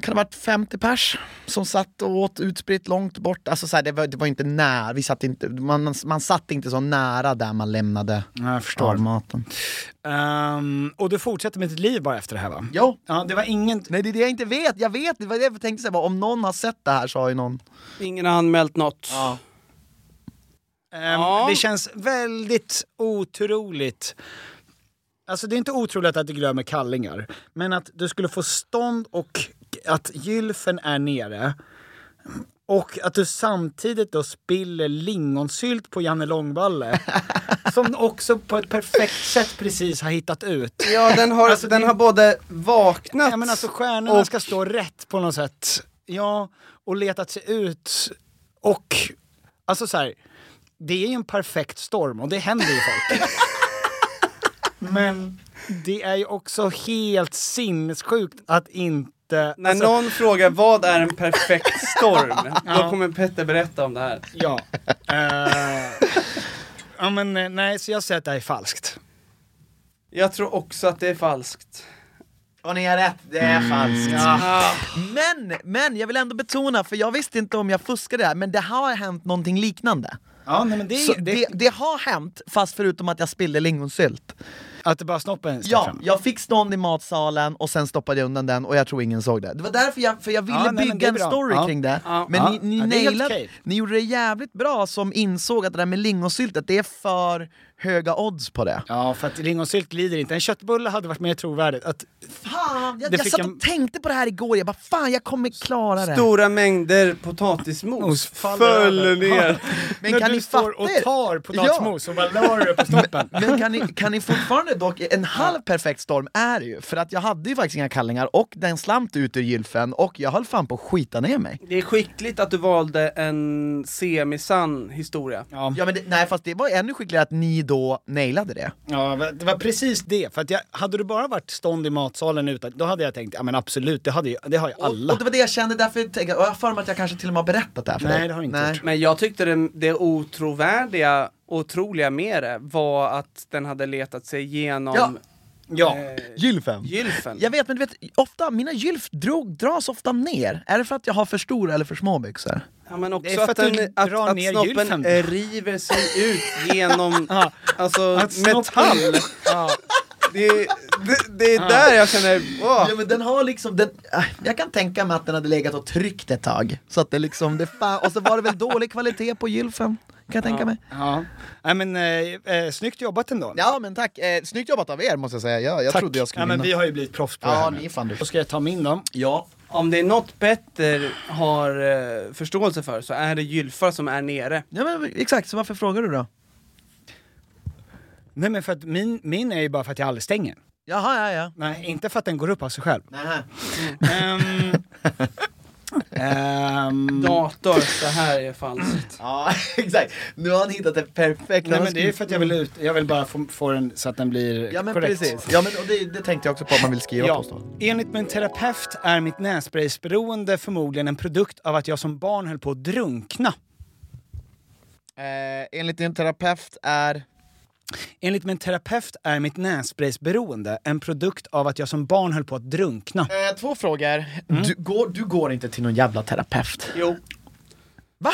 [SPEAKER 5] Kan det ha varit 50 pers som satt och åt utspritt långt bort. Alltså så här, det, var, det var inte nära, vi satt inte, man, man satt inte så nära där man lämnade
[SPEAKER 1] Ja, jag förstår.
[SPEAKER 5] maten.
[SPEAKER 1] Ehm, och du fortsätter med ditt liv bara efter det här va?
[SPEAKER 5] Ja.
[SPEAKER 1] Ja, det var ingen...
[SPEAKER 5] Nej det är det jag inte vet, jag vet det var det jag tänkte säga, om någon har sett det här så har ju någon...
[SPEAKER 2] Ingen har anmält något.
[SPEAKER 1] Ehm,
[SPEAKER 2] Ja.
[SPEAKER 1] Det känns väldigt otroligt. Alltså det är inte otroligt att du glömmer kallingar. Men att du skulle få stånd och att gylfen är nere. Och att du samtidigt då spiller lingonsylt på Janne Långballe. som också på ett perfekt sätt precis har hittat ut.
[SPEAKER 2] Ja, den har, den har både vaknat
[SPEAKER 1] Alltså, Ja men alltså stjärnorna
[SPEAKER 2] och-
[SPEAKER 1] ska stå rätt på något sätt. Ja, och letat sig ut. Och, alltså så här, det är ju en perfekt storm och det händer ju folk. men det är ju också helt sinnessjukt att inte...
[SPEAKER 2] När
[SPEAKER 1] alltså,
[SPEAKER 2] någon frågar vad är en perfekt storm, då kommer Petter berätta om det här.
[SPEAKER 1] Ja. Eh, ja men eh, nej, så jag säger att det här är falskt.
[SPEAKER 2] Jag tror också att det är falskt. Ah,
[SPEAKER 5] Och ni har rätt, det är
[SPEAKER 1] Mm.
[SPEAKER 5] falskt. Men, men jag vill ändå betona, för jag visste inte om jag fuskade där, men det har hänt någonting liknande.
[SPEAKER 1] Ja, nej, men det,
[SPEAKER 5] Så det, det har hänt, fast förutom att jag spillde lingonsylt.
[SPEAKER 1] Att det bara snoppen stack
[SPEAKER 5] Ja,
[SPEAKER 1] fram.
[SPEAKER 5] jag fick stånd i matsalen och sen stoppade jag undan den och jag tror ingen såg det. Det var därför jag, för jag ville
[SPEAKER 1] Ja, nej, men det
[SPEAKER 5] bygga
[SPEAKER 1] är
[SPEAKER 5] en
[SPEAKER 1] bra.
[SPEAKER 5] story
[SPEAKER 1] Ja.
[SPEAKER 5] kring det.
[SPEAKER 2] Ja.
[SPEAKER 5] Men
[SPEAKER 1] Ja.
[SPEAKER 5] ni, ni
[SPEAKER 1] Ja, det är helt
[SPEAKER 5] nailade,
[SPEAKER 1] okej.
[SPEAKER 5] ni gjorde det jävligt bra som insåg att det där med lingonsyltet, det är för höga odds på det.
[SPEAKER 1] Ja, för att lingonsylt glider inte. En köttbulle hade varit mer trovärdigt. Att,
[SPEAKER 5] Fan, jag,
[SPEAKER 1] Det
[SPEAKER 5] jag
[SPEAKER 1] fick
[SPEAKER 5] satt
[SPEAKER 1] en-
[SPEAKER 5] och tänkte på det här igår, jag bara fan jag kommer klara det.
[SPEAKER 2] Stora mängder potatismos
[SPEAKER 1] faller
[SPEAKER 2] föll
[SPEAKER 1] över.
[SPEAKER 2] ner.
[SPEAKER 5] Men
[SPEAKER 1] när
[SPEAKER 5] kan
[SPEAKER 1] du
[SPEAKER 5] ni
[SPEAKER 1] står
[SPEAKER 5] fatta
[SPEAKER 1] och
[SPEAKER 5] er?
[SPEAKER 1] tar potatismos och bara la det på snoppen.
[SPEAKER 5] Men kan ni, kan ni fortfarande dock, en halv perfekt storm är det ju, för att jag hade ju faktiskt inga kallingar och den slant ut ur gylfen och jag höll fan på att skita ner mig.
[SPEAKER 2] Det är skickligt att du valde en semisann historia.
[SPEAKER 5] Ja men det, nej fast det var ännu skickligare att ni då nailade det.
[SPEAKER 1] Ja, det var precis det. För att jag, hade du bara varit stånd i matsalen utan, då hade jag tänkt, ja men absolut, det, hade ju, det har ju alla.
[SPEAKER 5] Och det var det jag kände, därför tänkte jag, och jag har för mig att jag kanske till och med har berättat det här för
[SPEAKER 1] Nej,
[SPEAKER 5] dig.
[SPEAKER 1] det har du inte gjort.
[SPEAKER 2] Men jag tyckte det, det otrovärdiga, otroliga med det var att den hade letat sig igenom
[SPEAKER 5] Ja.
[SPEAKER 1] ja.
[SPEAKER 5] Gylfen.
[SPEAKER 2] gylfen.
[SPEAKER 5] Jag vet, men du vet, ofta, mina gylf drog, dras ofta ner. Är det för att jag har för stora eller för små byxor?
[SPEAKER 2] Ja, men
[SPEAKER 1] Det är
[SPEAKER 2] också
[SPEAKER 1] för
[SPEAKER 2] att,
[SPEAKER 1] att
[SPEAKER 2] den,
[SPEAKER 1] du
[SPEAKER 2] att,
[SPEAKER 1] drar
[SPEAKER 2] att
[SPEAKER 1] ner
[SPEAKER 2] snoppen
[SPEAKER 1] gylfen.
[SPEAKER 2] eh, river sig ut genom alltså,
[SPEAKER 1] Att snoppen-
[SPEAKER 2] metall. Det, är- det, det är där jag känner, åh.
[SPEAKER 5] Ja men den har liksom, den, äh, jag kan tänka mig att den hade legat och tryckt ett tag. Så att det liksom, det fan, och så var det väl dålig kvalitet på gylfen, kan jag tänka mig.
[SPEAKER 1] ja. Nej men eh, eh, snyggt jobbat ändå.
[SPEAKER 5] Ja men tack, eh, snyggt jobbat av er måste jag säga. Jag, jag
[SPEAKER 1] Tack.
[SPEAKER 5] trodde jag skulle
[SPEAKER 1] ja, men
[SPEAKER 5] vinna.
[SPEAKER 1] vi har ju blivit proffs på
[SPEAKER 5] Ja,
[SPEAKER 1] det här
[SPEAKER 5] ni
[SPEAKER 1] nu.
[SPEAKER 5] är fan
[SPEAKER 1] Då
[SPEAKER 5] duktiga.
[SPEAKER 1] ska jag ta min då.
[SPEAKER 5] Ja.
[SPEAKER 2] Om det är något Petter har eh, förståelse för så är det gylfar som är nere.
[SPEAKER 5] ja men exakt, så varför frågar du då?
[SPEAKER 1] Nej men för att min, min är ju bara för att jag aldrig stänger.
[SPEAKER 5] Jaha, ja Mm. ja.
[SPEAKER 1] Nej, inte för att den går upp av sig själv.
[SPEAKER 5] Nähä.
[SPEAKER 1] Ehm, ehm,
[SPEAKER 2] Dator, det här är falskt.
[SPEAKER 5] Ja exakt, nu har han hittat det perfekta.
[SPEAKER 1] Nej
[SPEAKER 5] Han
[SPEAKER 1] men det är för att jag vill, ut, jag vill bara få, få den så att den blir
[SPEAKER 5] Ja men
[SPEAKER 1] korrekt.
[SPEAKER 5] precis, ja, men, och det, det tänkte jag också på att man vill skriva
[SPEAKER 1] Ja.
[SPEAKER 5] påståenden.
[SPEAKER 1] Enligt min terapeut är mitt nässpraysberoende förmodligen en produkt av att jag som barn höll på att drunkna.
[SPEAKER 5] Eh, enligt din terapeut är...
[SPEAKER 1] Enligt min terapeut är mitt nässpraysberoende en produkt av att jag som barn höll på att drunkna.
[SPEAKER 5] Eh, två frågor.
[SPEAKER 1] Mm.
[SPEAKER 5] Du, går, du går inte till någon jävla terapeut.
[SPEAKER 2] Jo.
[SPEAKER 5] Va?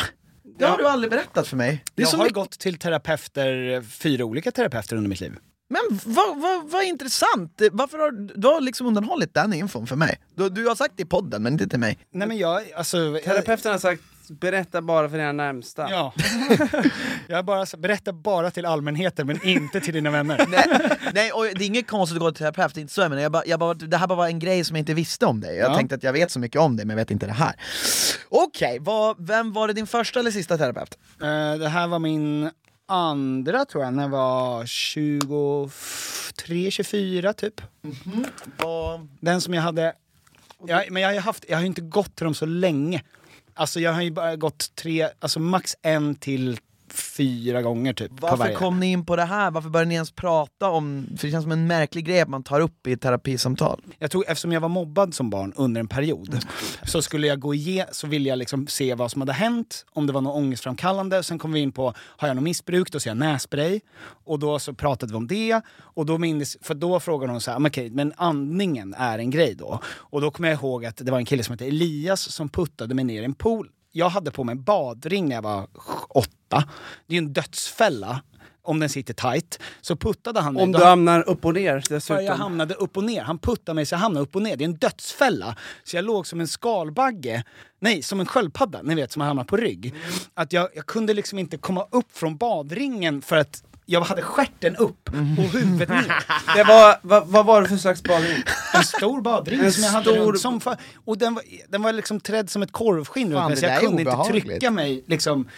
[SPEAKER 5] Det har du aldrig berättat för mig. Det är
[SPEAKER 1] Jag
[SPEAKER 5] så
[SPEAKER 1] har
[SPEAKER 5] mycket...
[SPEAKER 1] gått till terapeuter, fyra olika terapeuter under mitt liv.
[SPEAKER 5] Men vad va, va intressant! Eh, Varför har du- du har liksom undanhållit den infon för mig? Du, du har sagt det i podden, men inte till mig.
[SPEAKER 1] Nej men jag, alltså...
[SPEAKER 2] Terapeuten har sagt, berätta bara för dina närmsta.
[SPEAKER 1] Ja. jag har bara, berättar bara till allmänheten men inte till dina vänner.
[SPEAKER 5] Nej, nej och det är inget konstigt att gå till terapeut, det är inte så jag menar. Jag bara, jag bara, det här bara var en grej som jag inte visste om dig. Jag
[SPEAKER 1] Ja.
[SPEAKER 5] tänkte att jag vet så mycket om dig, men jag vet inte det här. Okej, vad- vem var det din första eller sista terapeut?
[SPEAKER 1] Eh, det här var min andra tror jag, när jag var 23, 24 typ. Den som jag hade... Jag, men jag har, ju haft, jag har ju inte gått till dem så länge. Alltså jag har ju bara gått tre, alltså max en till fyra gånger typ. på
[SPEAKER 5] Varför
[SPEAKER 1] varje.
[SPEAKER 5] kom ni in på det här? Varför började ni ens prata om... För det känns som en märklig grej att man tar upp i ett terapisamtal.
[SPEAKER 1] Jag tror, eftersom jag var mobbad som barn under en
[SPEAKER 2] Mm.
[SPEAKER 1] period så skulle jag gå igen, så ville jag liksom se vad som hade hänt, om det var något ångestframkallande. Sen kom vi in på, har jag något missbruk? Då ser jag nässpray. Och då så pratade vi om det. Och då minns, för då frågade hon så här, men okej, men andningen är en grej då. Och då kommer jag ihåg att det var en kille som hette Elias som puttade mig ner i en pool. Jag hade på mig en badring när jag var åtta. Det är ju en dödsfälla om den sitter tight. Så puttade han mig.
[SPEAKER 2] Om
[SPEAKER 1] Då-
[SPEAKER 2] du hamnar upp och ner
[SPEAKER 1] för jag
[SPEAKER 2] dessutom.
[SPEAKER 1] hamnade upp och ner. Han puttade mig så jag hamnade upp och ner. Det är en dödsfälla. Så jag låg som en skalbagge. Nej, som en sköldpadda, ni vet, som har hamnat på rygg. Att jag, jag kunde liksom inte komma upp från badringen för att jag hade stjärten upp och huvudet ner.
[SPEAKER 2] Det var, vad, vad var det för slags badring?
[SPEAKER 1] En stor badring
[SPEAKER 2] En
[SPEAKER 1] som jag hade
[SPEAKER 2] stor-
[SPEAKER 1] runt som fa- Och den var, den var liksom trädd som ett korvskinn runt
[SPEAKER 5] Fan,
[SPEAKER 1] mig
[SPEAKER 5] det
[SPEAKER 1] så
[SPEAKER 5] där
[SPEAKER 1] jag
[SPEAKER 5] är
[SPEAKER 1] kunde inte
[SPEAKER 5] obehagligt.
[SPEAKER 1] trycka mig liksom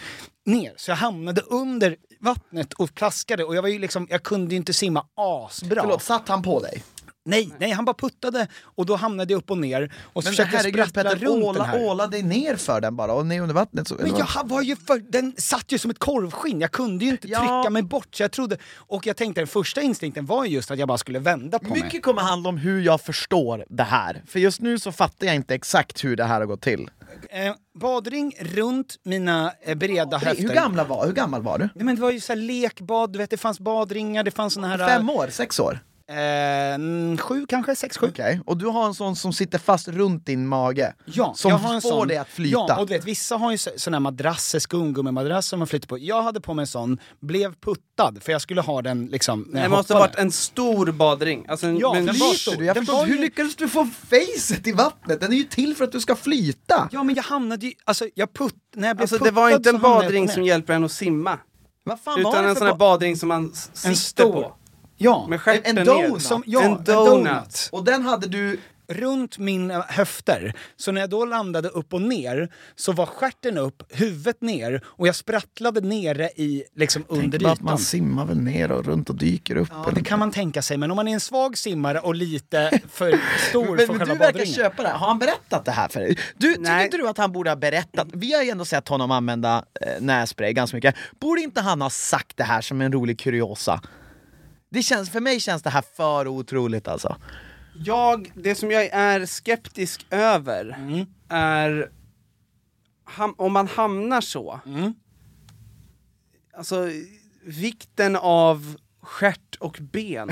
[SPEAKER 1] ner. Så jag hamnade under vattnet och plaskade och jag var ju liksom, jag kunde ju inte simma asbra.
[SPEAKER 5] Förlåt, satt han på dig?
[SPEAKER 1] Nej, nej, han bara puttade och då hamnade jag upp och ner och så
[SPEAKER 5] Men
[SPEAKER 1] försökte jag
[SPEAKER 5] herregud
[SPEAKER 1] sprattla
[SPEAKER 5] Petter,
[SPEAKER 1] runt den
[SPEAKER 5] åla,
[SPEAKER 1] här.
[SPEAKER 5] åla dig ner för den bara, och ner under vattnet så...
[SPEAKER 1] Men jag var ju för, den satt ju som ett korvskinn, jag kunde ju inte
[SPEAKER 5] Ja.
[SPEAKER 1] trycka mig bort så jag trodde... Och jag tänkte den första instinkten var ju just att jag bara skulle vända på mig.
[SPEAKER 5] Mycket kommer handla om hur jag förstår det här, för just nu så fattar jag inte exakt hur det här har gått till.
[SPEAKER 1] Eh, badring runt mina eh, breda höfter.
[SPEAKER 5] Hur, gamla var, hur gammal var du?
[SPEAKER 1] Nej, men det var ju så här lekbad, du vet det fanns badringar, det fanns såna här...
[SPEAKER 5] Fem år? Sex år?
[SPEAKER 1] Eh, Eh, mm, sju kanske, sex, sju.
[SPEAKER 5] Okej, och du har en sån som sitter fast runt din mage?
[SPEAKER 1] Ja,
[SPEAKER 5] som
[SPEAKER 1] jag har en
[SPEAKER 5] får
[SPEAKER 1] sån.
[SPEAKER 5] dig att flyta?
[SPEAKER 1] Ja, och du vet, vissa har ju så- såna här madrasser, skumgummimadrasser som man flyter på. Jag hade på mig en sån, blev puttad för jag skulle ha den liksom när
[SPEAKER 2] Det
[SPEAKER 1] jag
[SPEAKER 2] måste ha
[SPEAKER 1] hoppade.
[SPEAKER 2] varit en stor badring. Alltså en,
[SPEAKER 1] Ja,
[SPEAKER 2] men
[SPEAKER 1] den var
[SPEAKER 5] Flyter
[SPEAKER 1] stor.
[SPEAKER 5] du? Jag
[SPEAKER 1] Den
[SPEAKER 5] förstår,
[SPEAKER 1] var ju-
[SPEAKER 5] hur lyckades du få facet i vattnet? Den är ju till för att du ska flyta!
[SPEAKER 1] Ja men jag hamnade ju, alltså jag putt, när jag blev
[SPEAKER 2] alltså
[SPEAKER 1] puttad
[SPEAKER 2] det var inte
[SPEAKER 1] så
[SPEAKER 2] en
[SPEAKER 1] hamnade jag
[SPEAKER 2] badring
[SPEAKER 1] på
[SPEAKER 2] som
[SPEAKER 1] knä.
[SPEAKER 2] hjälper en att simma.
[SPEAKER 5] Vad fan var
[SPEAKER 2] Utan
[SPEAKER 5] det
[SPEAKER 2] en
[SPEAKER 5] för
[SPEAKER 2] sån här
[SPEAKER 5] ba-
[SPEAKER 2] badring som man s- sitter
[SPEAKER 1] En stor.
[SPEAKER 2] på.
[SPEAKER 1] Ja,
[SPEAKER 2] Med stjärten
[SPEAKER 5] En- en
[SPEAKER 2] ner.
[SPEAKER 5] donut.
[SPEAKER 1] som, ja,
[SPEAKER 2] en
[SPEAKER 1] en
[SPEAKER 2] donut.
[SPEAKER 1] donut.
[SPEAKER 5] Och den hade du...
[SPEAKER 1] runt mina höfter. Så när jag då landade upp och ner så var stjärten upp, huvudet ner och jag sprattlade nere i, liksom under
[SPEAKER 5] Tänk bara att
[SPEAKER 1] ytan.
[SPEAKER 5] man simmar väl ner och runt och dyker upp.
[SPEAKER 1] Ja, det kan man tänka sig, men om man är en svag simmare och lite för stor för
[SPEAKER 5] men, men
[SPEAKER 1] själva
[SPEAKER 5] du verkar
[SPEAKER 1] badringen.
[SPEAKER 5] köpa det här. Har han berättat det här för dig? Du, tycker
[SPEAKER 2] Nej.
[SPEAKER 5] inte du att han borde ha berättat? Vi har ju ändå sett honom använda eh, nässpray ganska mycket. Borde inte han ha sagt det här som en rolig kuriosa? Det känns, för mig känns det här för otroligt alltså.
[SPEAKER 2] Jag, det som jag är skeptisk över
[SPEAKER 1] Mm.
[SPEAKER 2] är ham, om man hamnar så.
[SPEAKER 1] Mm.
[SPEAKER 2] Alltså vikten av stjärt och ben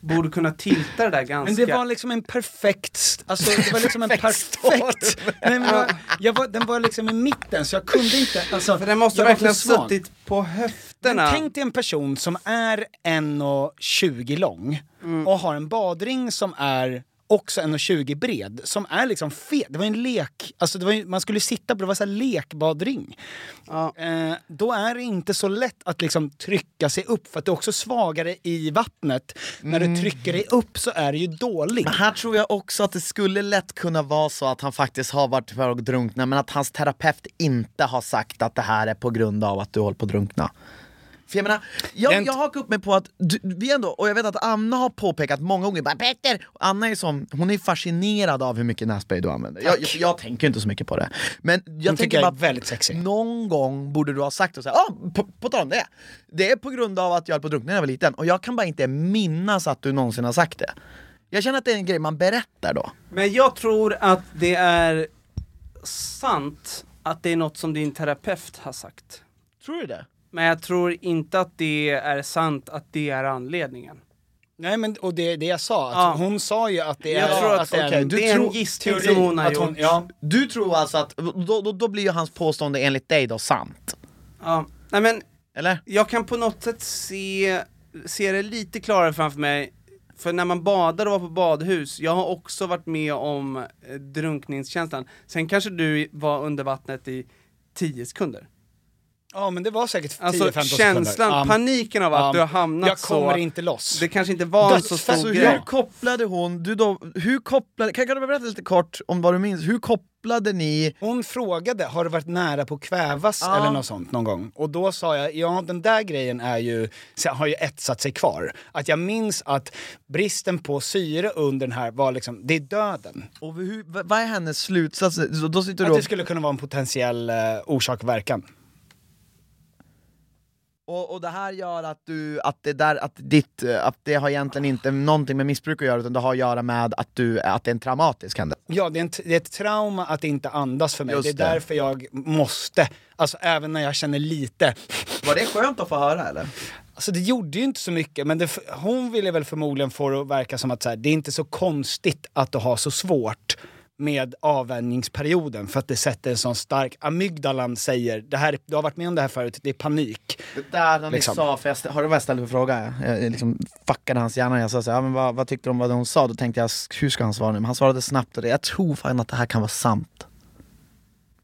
[SPEAKER 2] borde kunna tilta det där ganska.
[SPEAKER 1] Men det var liksom en perfekt, st- alltså det var liksom en
[SPEAKER 5] Perfekt
[SPEAKER 1] perfekt, nej men jag, jag var, den var liksom i mitten så jag kunde inte, alltså.
[SPEAKER 2] För den måste
[SPEAKER 1] jag var
[SPEAKER 2] verkligen ha
[SPEAKER 1] för svag.
[SPEAKER 2] suttit på höfterna.
[SPEAKER 1] Men tänk dig en person som är 1,20 lång
[SPEAKER 2] Mm.
[SPEAKER 1] och har en badring som är också 1,20 bred, som är liksom fet. Det var ju en lek, alltså det var ju, man skulle sitta på det, var så här lekbadring. Eh, då är det inte så lätt att liksom trycka sig upp för att det är också svagare i vattnet. När
[SPEAKER 2] Mm.
[SPEAKER 1] du trycker dig upp så är det ju dåligt.
[SPEAKER 5] Men här tror jag också att det skulle lätt kunna vara så att han faktiskt har varit på väg att drunkna men att hans terapeut inte har sagt att det här är på grund av att du håller på att drunkna. För jag menar, jag,
[SPEAKER 1] Den-
[SPEAKER 5] jag hakar upp mig på att du, vi ändå, och jag vet att Anna har påpekat många gånger, bara Petter! Anna är som, hon är fascinerad av hur mycket nässpray du använder. Jag, jag, jag tänker inte så mycket på det. Men jag
[SPEAKER 1] Hon tycker
[SPEAKER 5] tänker
[SPEAKER 1] jag är
[SPEAKER 5] bara,
[SPEAKER 1] väldigt sexig.
[SPEAKER 5] någon gång borde du ha sagt och säga, ah, på, på tal om det, det är på grund av att jag höll på att drunkna när jag var liten och jag kan bara inte minnas att du någonsin har sagt det. Jag känner att det är en grej man berättar då.
[SPEAKER 2] Men jag tror att det är sant att det är något som din terapeut har sagt.
[SPEAKER 5] Tror du det?
[SPEAKER 2] Men jag tror inte att det är sant att det är anledningen.
[SPEAKER 1] Nej men och det, det jag sa, att
[SPEAKER 2] Ja.
[SPEAKER 1] hon sa ju att det är...
[SPEAKER 2] Jag tror att,
[SPEAKER 1] det är
[SPEAKER 5] okej,
[SPEAKER 1] en
[SPEAKER 5] du
[SPEAKER 2] det är en
[SPEAKER 5] tror-
[SPEAKER 2] gissning som hon har
[SPEAKER 1] att
[SPEAKER 2] gjort.
[SPEAKER 1] hon- ja.
[SPEAKER 5] Du tror alltså att, då, då, då blir ju hans påstående enligt dig då sant?
[SPEAKER 2] Ja. Nej men,
[SPEAKER 5] Eller?
[SPEAKER 2] jag kan på något sätt se, se det lite klarare framför mig. För när man badar och var på badhus, jag har också varit med om eh, drunkningskänslan. Sen kanske du var under vattnet i 10 sekunder.
[SPEAKER 1] ja men det var säkert 10-15
[SPEAKER 2] Alltså
[SPEAKER 1] sekunder.
[SPEAKER 2] känslan,
[SPEAKER 1] Ja.
[SPEAKER 2] paniken av att
[SPEAKER 1] Ja.
[SPEAKER 2] du har hamnat
[SPEAKER 1] Jag kommer
[SPEAKER 2] så.
[SPEAKER 1] inte loss.
[SPEAKER 2] Det kanske inte var en så
[SPEAKER 1] Dödsfall.
[SPEAKER 2] stor
[SPEAKER 5] Så
[SPEAKER 2] grej.
[SPEAKER 5] hur kopplade hon, du då, hur kopplade, kan, kan du berätta lite kort om vad du minns? Hur kopplade ni,
[SPEAKER 1] Hon frågade, har du varit nära på att kvävas eller något sånt någon gång? Och då sa jag, ja den där grejen är ju, så har ju etsat sig kvar. Att jag minns att bristen på syre under den här var liksom, det är döden.
[SPEAKER 5] och hur, vad vad är hennes slutsats? Så Då sitter
[SPEAKER 1] Att
[SPEAKER 5] du
[SPEAKER 1] det skulle kunna vara en potentiell eh, orsak och verkan.
[SPEAKER 5] och, och det här gör att du, att det där, att ditt, eh, att det har egentligen inte någonting med missbruk att göra utan det har att göra med att du, att det är en traumatisk händelse?
[SPEAKER 1] Ja, det är, en, t- det är ett trauma att inte andas för mig.
[SPEAKER 5] Just
[SPEAKER 1] det är
[SPEAKER 5] det.
[SPEAKER 1] därför jag måste, alltså även när jag känner lite,
[SPEAKER 5] Var det skönt att få höra eller?
[SPEAKER 1] Alltså det gjorde ju inte så mycket, men det, hon ville väl förmodligen få det att verka som att så här, det är inte så konstigt att du har så svårt med avvänjningsperioden för att det sätter en sån stark... Amygdalan säger, det här, du har varit med om det här förut, det är panik.
[SPEAKER 5] Det där när ni
[SPEAKER 1] Liksom.
[SPEAKER 5] sa, för jag stä- har det var jag ställde för fråga, jag jag liksom fuckade hans hjärna, jag sa så här, ja, men vad, vad tyckte du om vad hon sa? Då tänkte jag, "S- hur ska han svara nu? Men han svarade snabbt och det, jag tror fan att det här kan vara sant.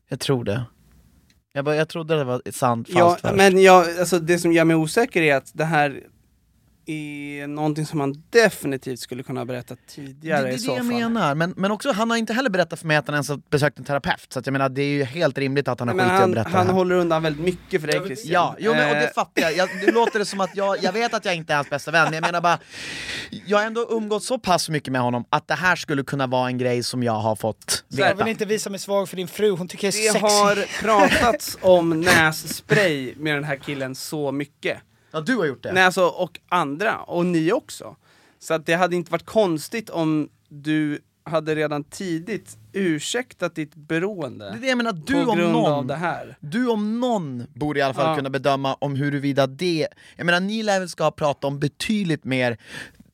[SPEAKER 5] Jag tror det. Jag, bara, jag trodde det var sant, falskt
[SPEAKER 2] Ja,
[SPEAKER 5] först.
[SPEAKER 2] men jag, alltså det som gör mig osäker är att det här är någonting som han definitivt skulle kunna ha berättat
[SPEAKER 5] det, det
[SPEAKER 2] tidigare
[SPEAKER 5] är
[SPEAKER 2] i
[SPEAKER 5] det
[SPEAKER 2] så
[SPEAKER 5] jag
[SPEAKER 2] fall.
[SPEAKER 5] menar, men, men också han har inte heller berättat för mig att han ens har besökt en terapeut, så att jag menar det är ju helt rimligt att han har
[SPEAKER 2] Men
[SPEAKER 5] skitit i att
[SPEAKER 2] han,
[SPEAKER 5] berätta
[SPEAKER 2] han
[SPEAKER 5] det här.
[SPEAKER 2] håller undan väldigt mycket för dig Christian.
[SPEAKER 5] Ja, jo, men, och
[SPEAKER 2] Eh,
[SPEAKER 5] det fattar jag. jag. Nu låter det som att jag, jag vet att jag inte är hans bästa vän, men jag menar bara, jag har ändå umgått så pass mycket med honom att det här skulle kunna vara en grej som jag har fått
[SPEAKER 1] Jag
[SPEAKER 5] veta.
[SPEAKER 1] vill inte visa mig svag för din fru, hon tycker jag är
[SPEAKER 2] det
[SPEAKER 1] sexig.
[SPEAKER 2] har pratats om nässpray med den här killen så mycket.
[SPEAKER 5] Ja, du har gjort det.
[SPEAKER 2] Nej, alltså, och andra, och ni också. Så att det hade inte varit konstigt om du hade redan tidigt ursäktat ditt beroende
[SPEAKER 5] Det är det jag menar, du
[SPEAKER 2] på
[SPEAKER 5] om
[SPEAKER 2] grund av
[SPEAKER 5] någon,
[SPEAKER 2] det här.
[SPEAKER 5] du om någon borde i alla fall
[SPEAKER 2] Ja.
[SPEAKER 5] kunna bedöma om huruvida det, jag menar ni lär väl ska prata om betydligt mer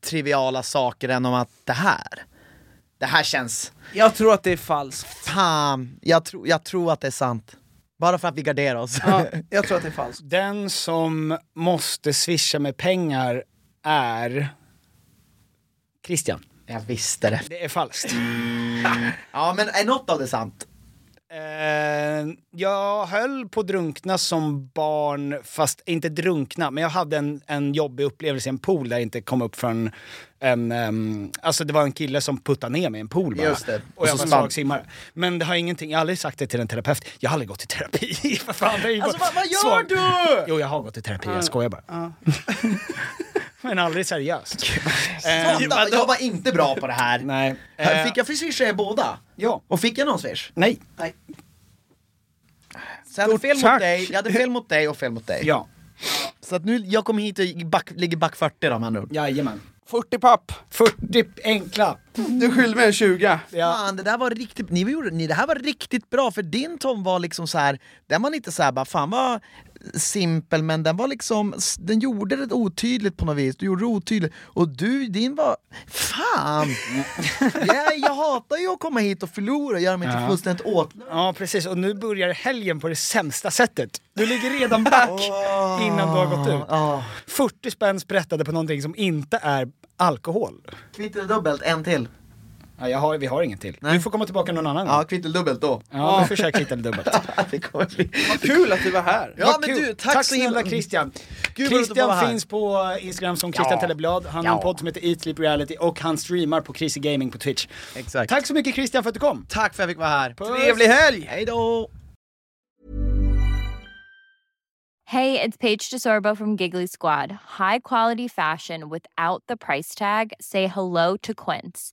[SPEAKER 5] triviala saker än om att det här, det här känns...
[SPEAKER 2] Jag tror att det är falskt.
[SPEAKER 5] Fan, jag, tro, jag tror att det är sant. Bara för att vi garderar oss.
[SPEAKER 2] Ja, jag tror att det är falskt.
[SPEAKER 1] Den som måste swisha med pengar är Christian.
[SPEAKER 5] jag visste det.
[SPEAKER 1] Det är falskt.
[SPEAKER 5] Ja men är något av det sant?
[SPEAKER 1] Eh, jag höll på att drunkna som barn, fast inte drunkna, men jag hade en, en jobbig upplevelse i en pool där jag inte kom upp från en... ehm, alltså det var en kille som puttade ner mig i en pool bara.
[SPEAKER 5] Just det.
[SPEAKER 1] Och,
[SPEAKER 5] Och
[SPEAKER 1] jag
[SPEAKER 5] så
[SPEAKER 1] var en
[SPEAKER 5] spann.
[SPEAKER 1] svag simmare. Men det har ingenting, jag har aldrig sagt det till en terapeut. Jag har aldrig gått i terapi. Vad fan, det är ju
[SPEAKER 5] Alltså,
[SPEAKER 1] bara
[SPEAKER 5] vad- vad gör
[SPEAKER 1] svag-
[SPEAKER 5] du?
[SPEAKER 1] Jo, jag har gått i terapi, jag skojar bara. men aldrig seriöst. Ehm,
[SPEAKER 5] Satan, jag var inte bra på det här.
[SPEAKER 1] nej. Eh,
[SPEAKER 5] Fick jag för swisha er båda?
[SPEAKER 1] Ja.
[SPEAKER 5] Och fick jag någon swish?
[SPEAKER 1] Nej.
[SPEAKER 5] Så jag hade, fel
[SPEAKER 1] tack.
[SPEAKER 5] mot dig, jag hade fel mot dig och fel mot dig.
[SPEAKER 1] Ja.
[SPEAKER 5] Så att nu, jag kom hit och back, ligger back 40 då med andra ord.
[SPEAKER 1] Jajamän.
[SPEAKER 2] 40 papp.
[SPEAKER 1] 40 enkla.
[SPEAKER 2] Du skyller mig en 20.
[SPEAKER 5] Fan, det där var riktigt, ni gjorde, ni, det här var riktigt bra för din Tom var liksom så här, den var inte så här bara fan vad simpel men den var liksom, s- den gjorde det otydligt på något vis, du gjorde det otydligt och du, din var, fan! jag, jag hatar ju att komma hit och förlora och göra mig till fullständigt åtlöjlig.
[SPEAKER 1] Ja, precis. Och nu börjar helgen på det sämsta sättet. Du ligger redan back innan du har gått ut. 40 spänn sprättade på någonting som inte är alkohol.
[SPEAKER 5] Kvitteldubbelt, en till.
[SPEAKER 1] Ja, jag har, vi har ingen till. Du får komma tillbaka någon annan gång.
[SPEAKER 5] Ja, kvitteldubbelt då.
[SPEAKER 1] Ja, vi försöker hitta det dubbelt.
[SPEAKER 5] det kommer bli...
[SPEAKER 2] Kul att du var här.
[SPEAKER 5] Ja
[SPEAKER 1] Vad
[SPEAKER 5] men
[SPEAKER 1] kul.
[SPEAKER 5] du, tack,
[SPEAKER 1] tack
[SPEAKER 5] så himla...
[SPEAKER 1] snälla Christian.
[SPEAKER 5] Gud, vad roligt att få vara
[SPEAKER 1] Christian
[SPEAKER 5] här.
[SPEAKER 1] finns på Instagram som Christian Telleblad. Han har en podd som heter Eat Sleep Reality och han streamar på Crazy Gaming på Twitch.
[SPEAKER 5] Exakt.
[SPEAKER 1] Tack så mycket Christian för att du kom.
[SPEAKER 5] Tack för att jag fick vara här.
[SPEAKER 1] Puss.
[SPEAKER 2] Trevlig helg!
[SPEAKER 5] Hej då!
[SPEAKER 6] Hey, it's Paige DeSorbo from Giggly Squad. High quality fashion without the price tag. Say hello to Quince.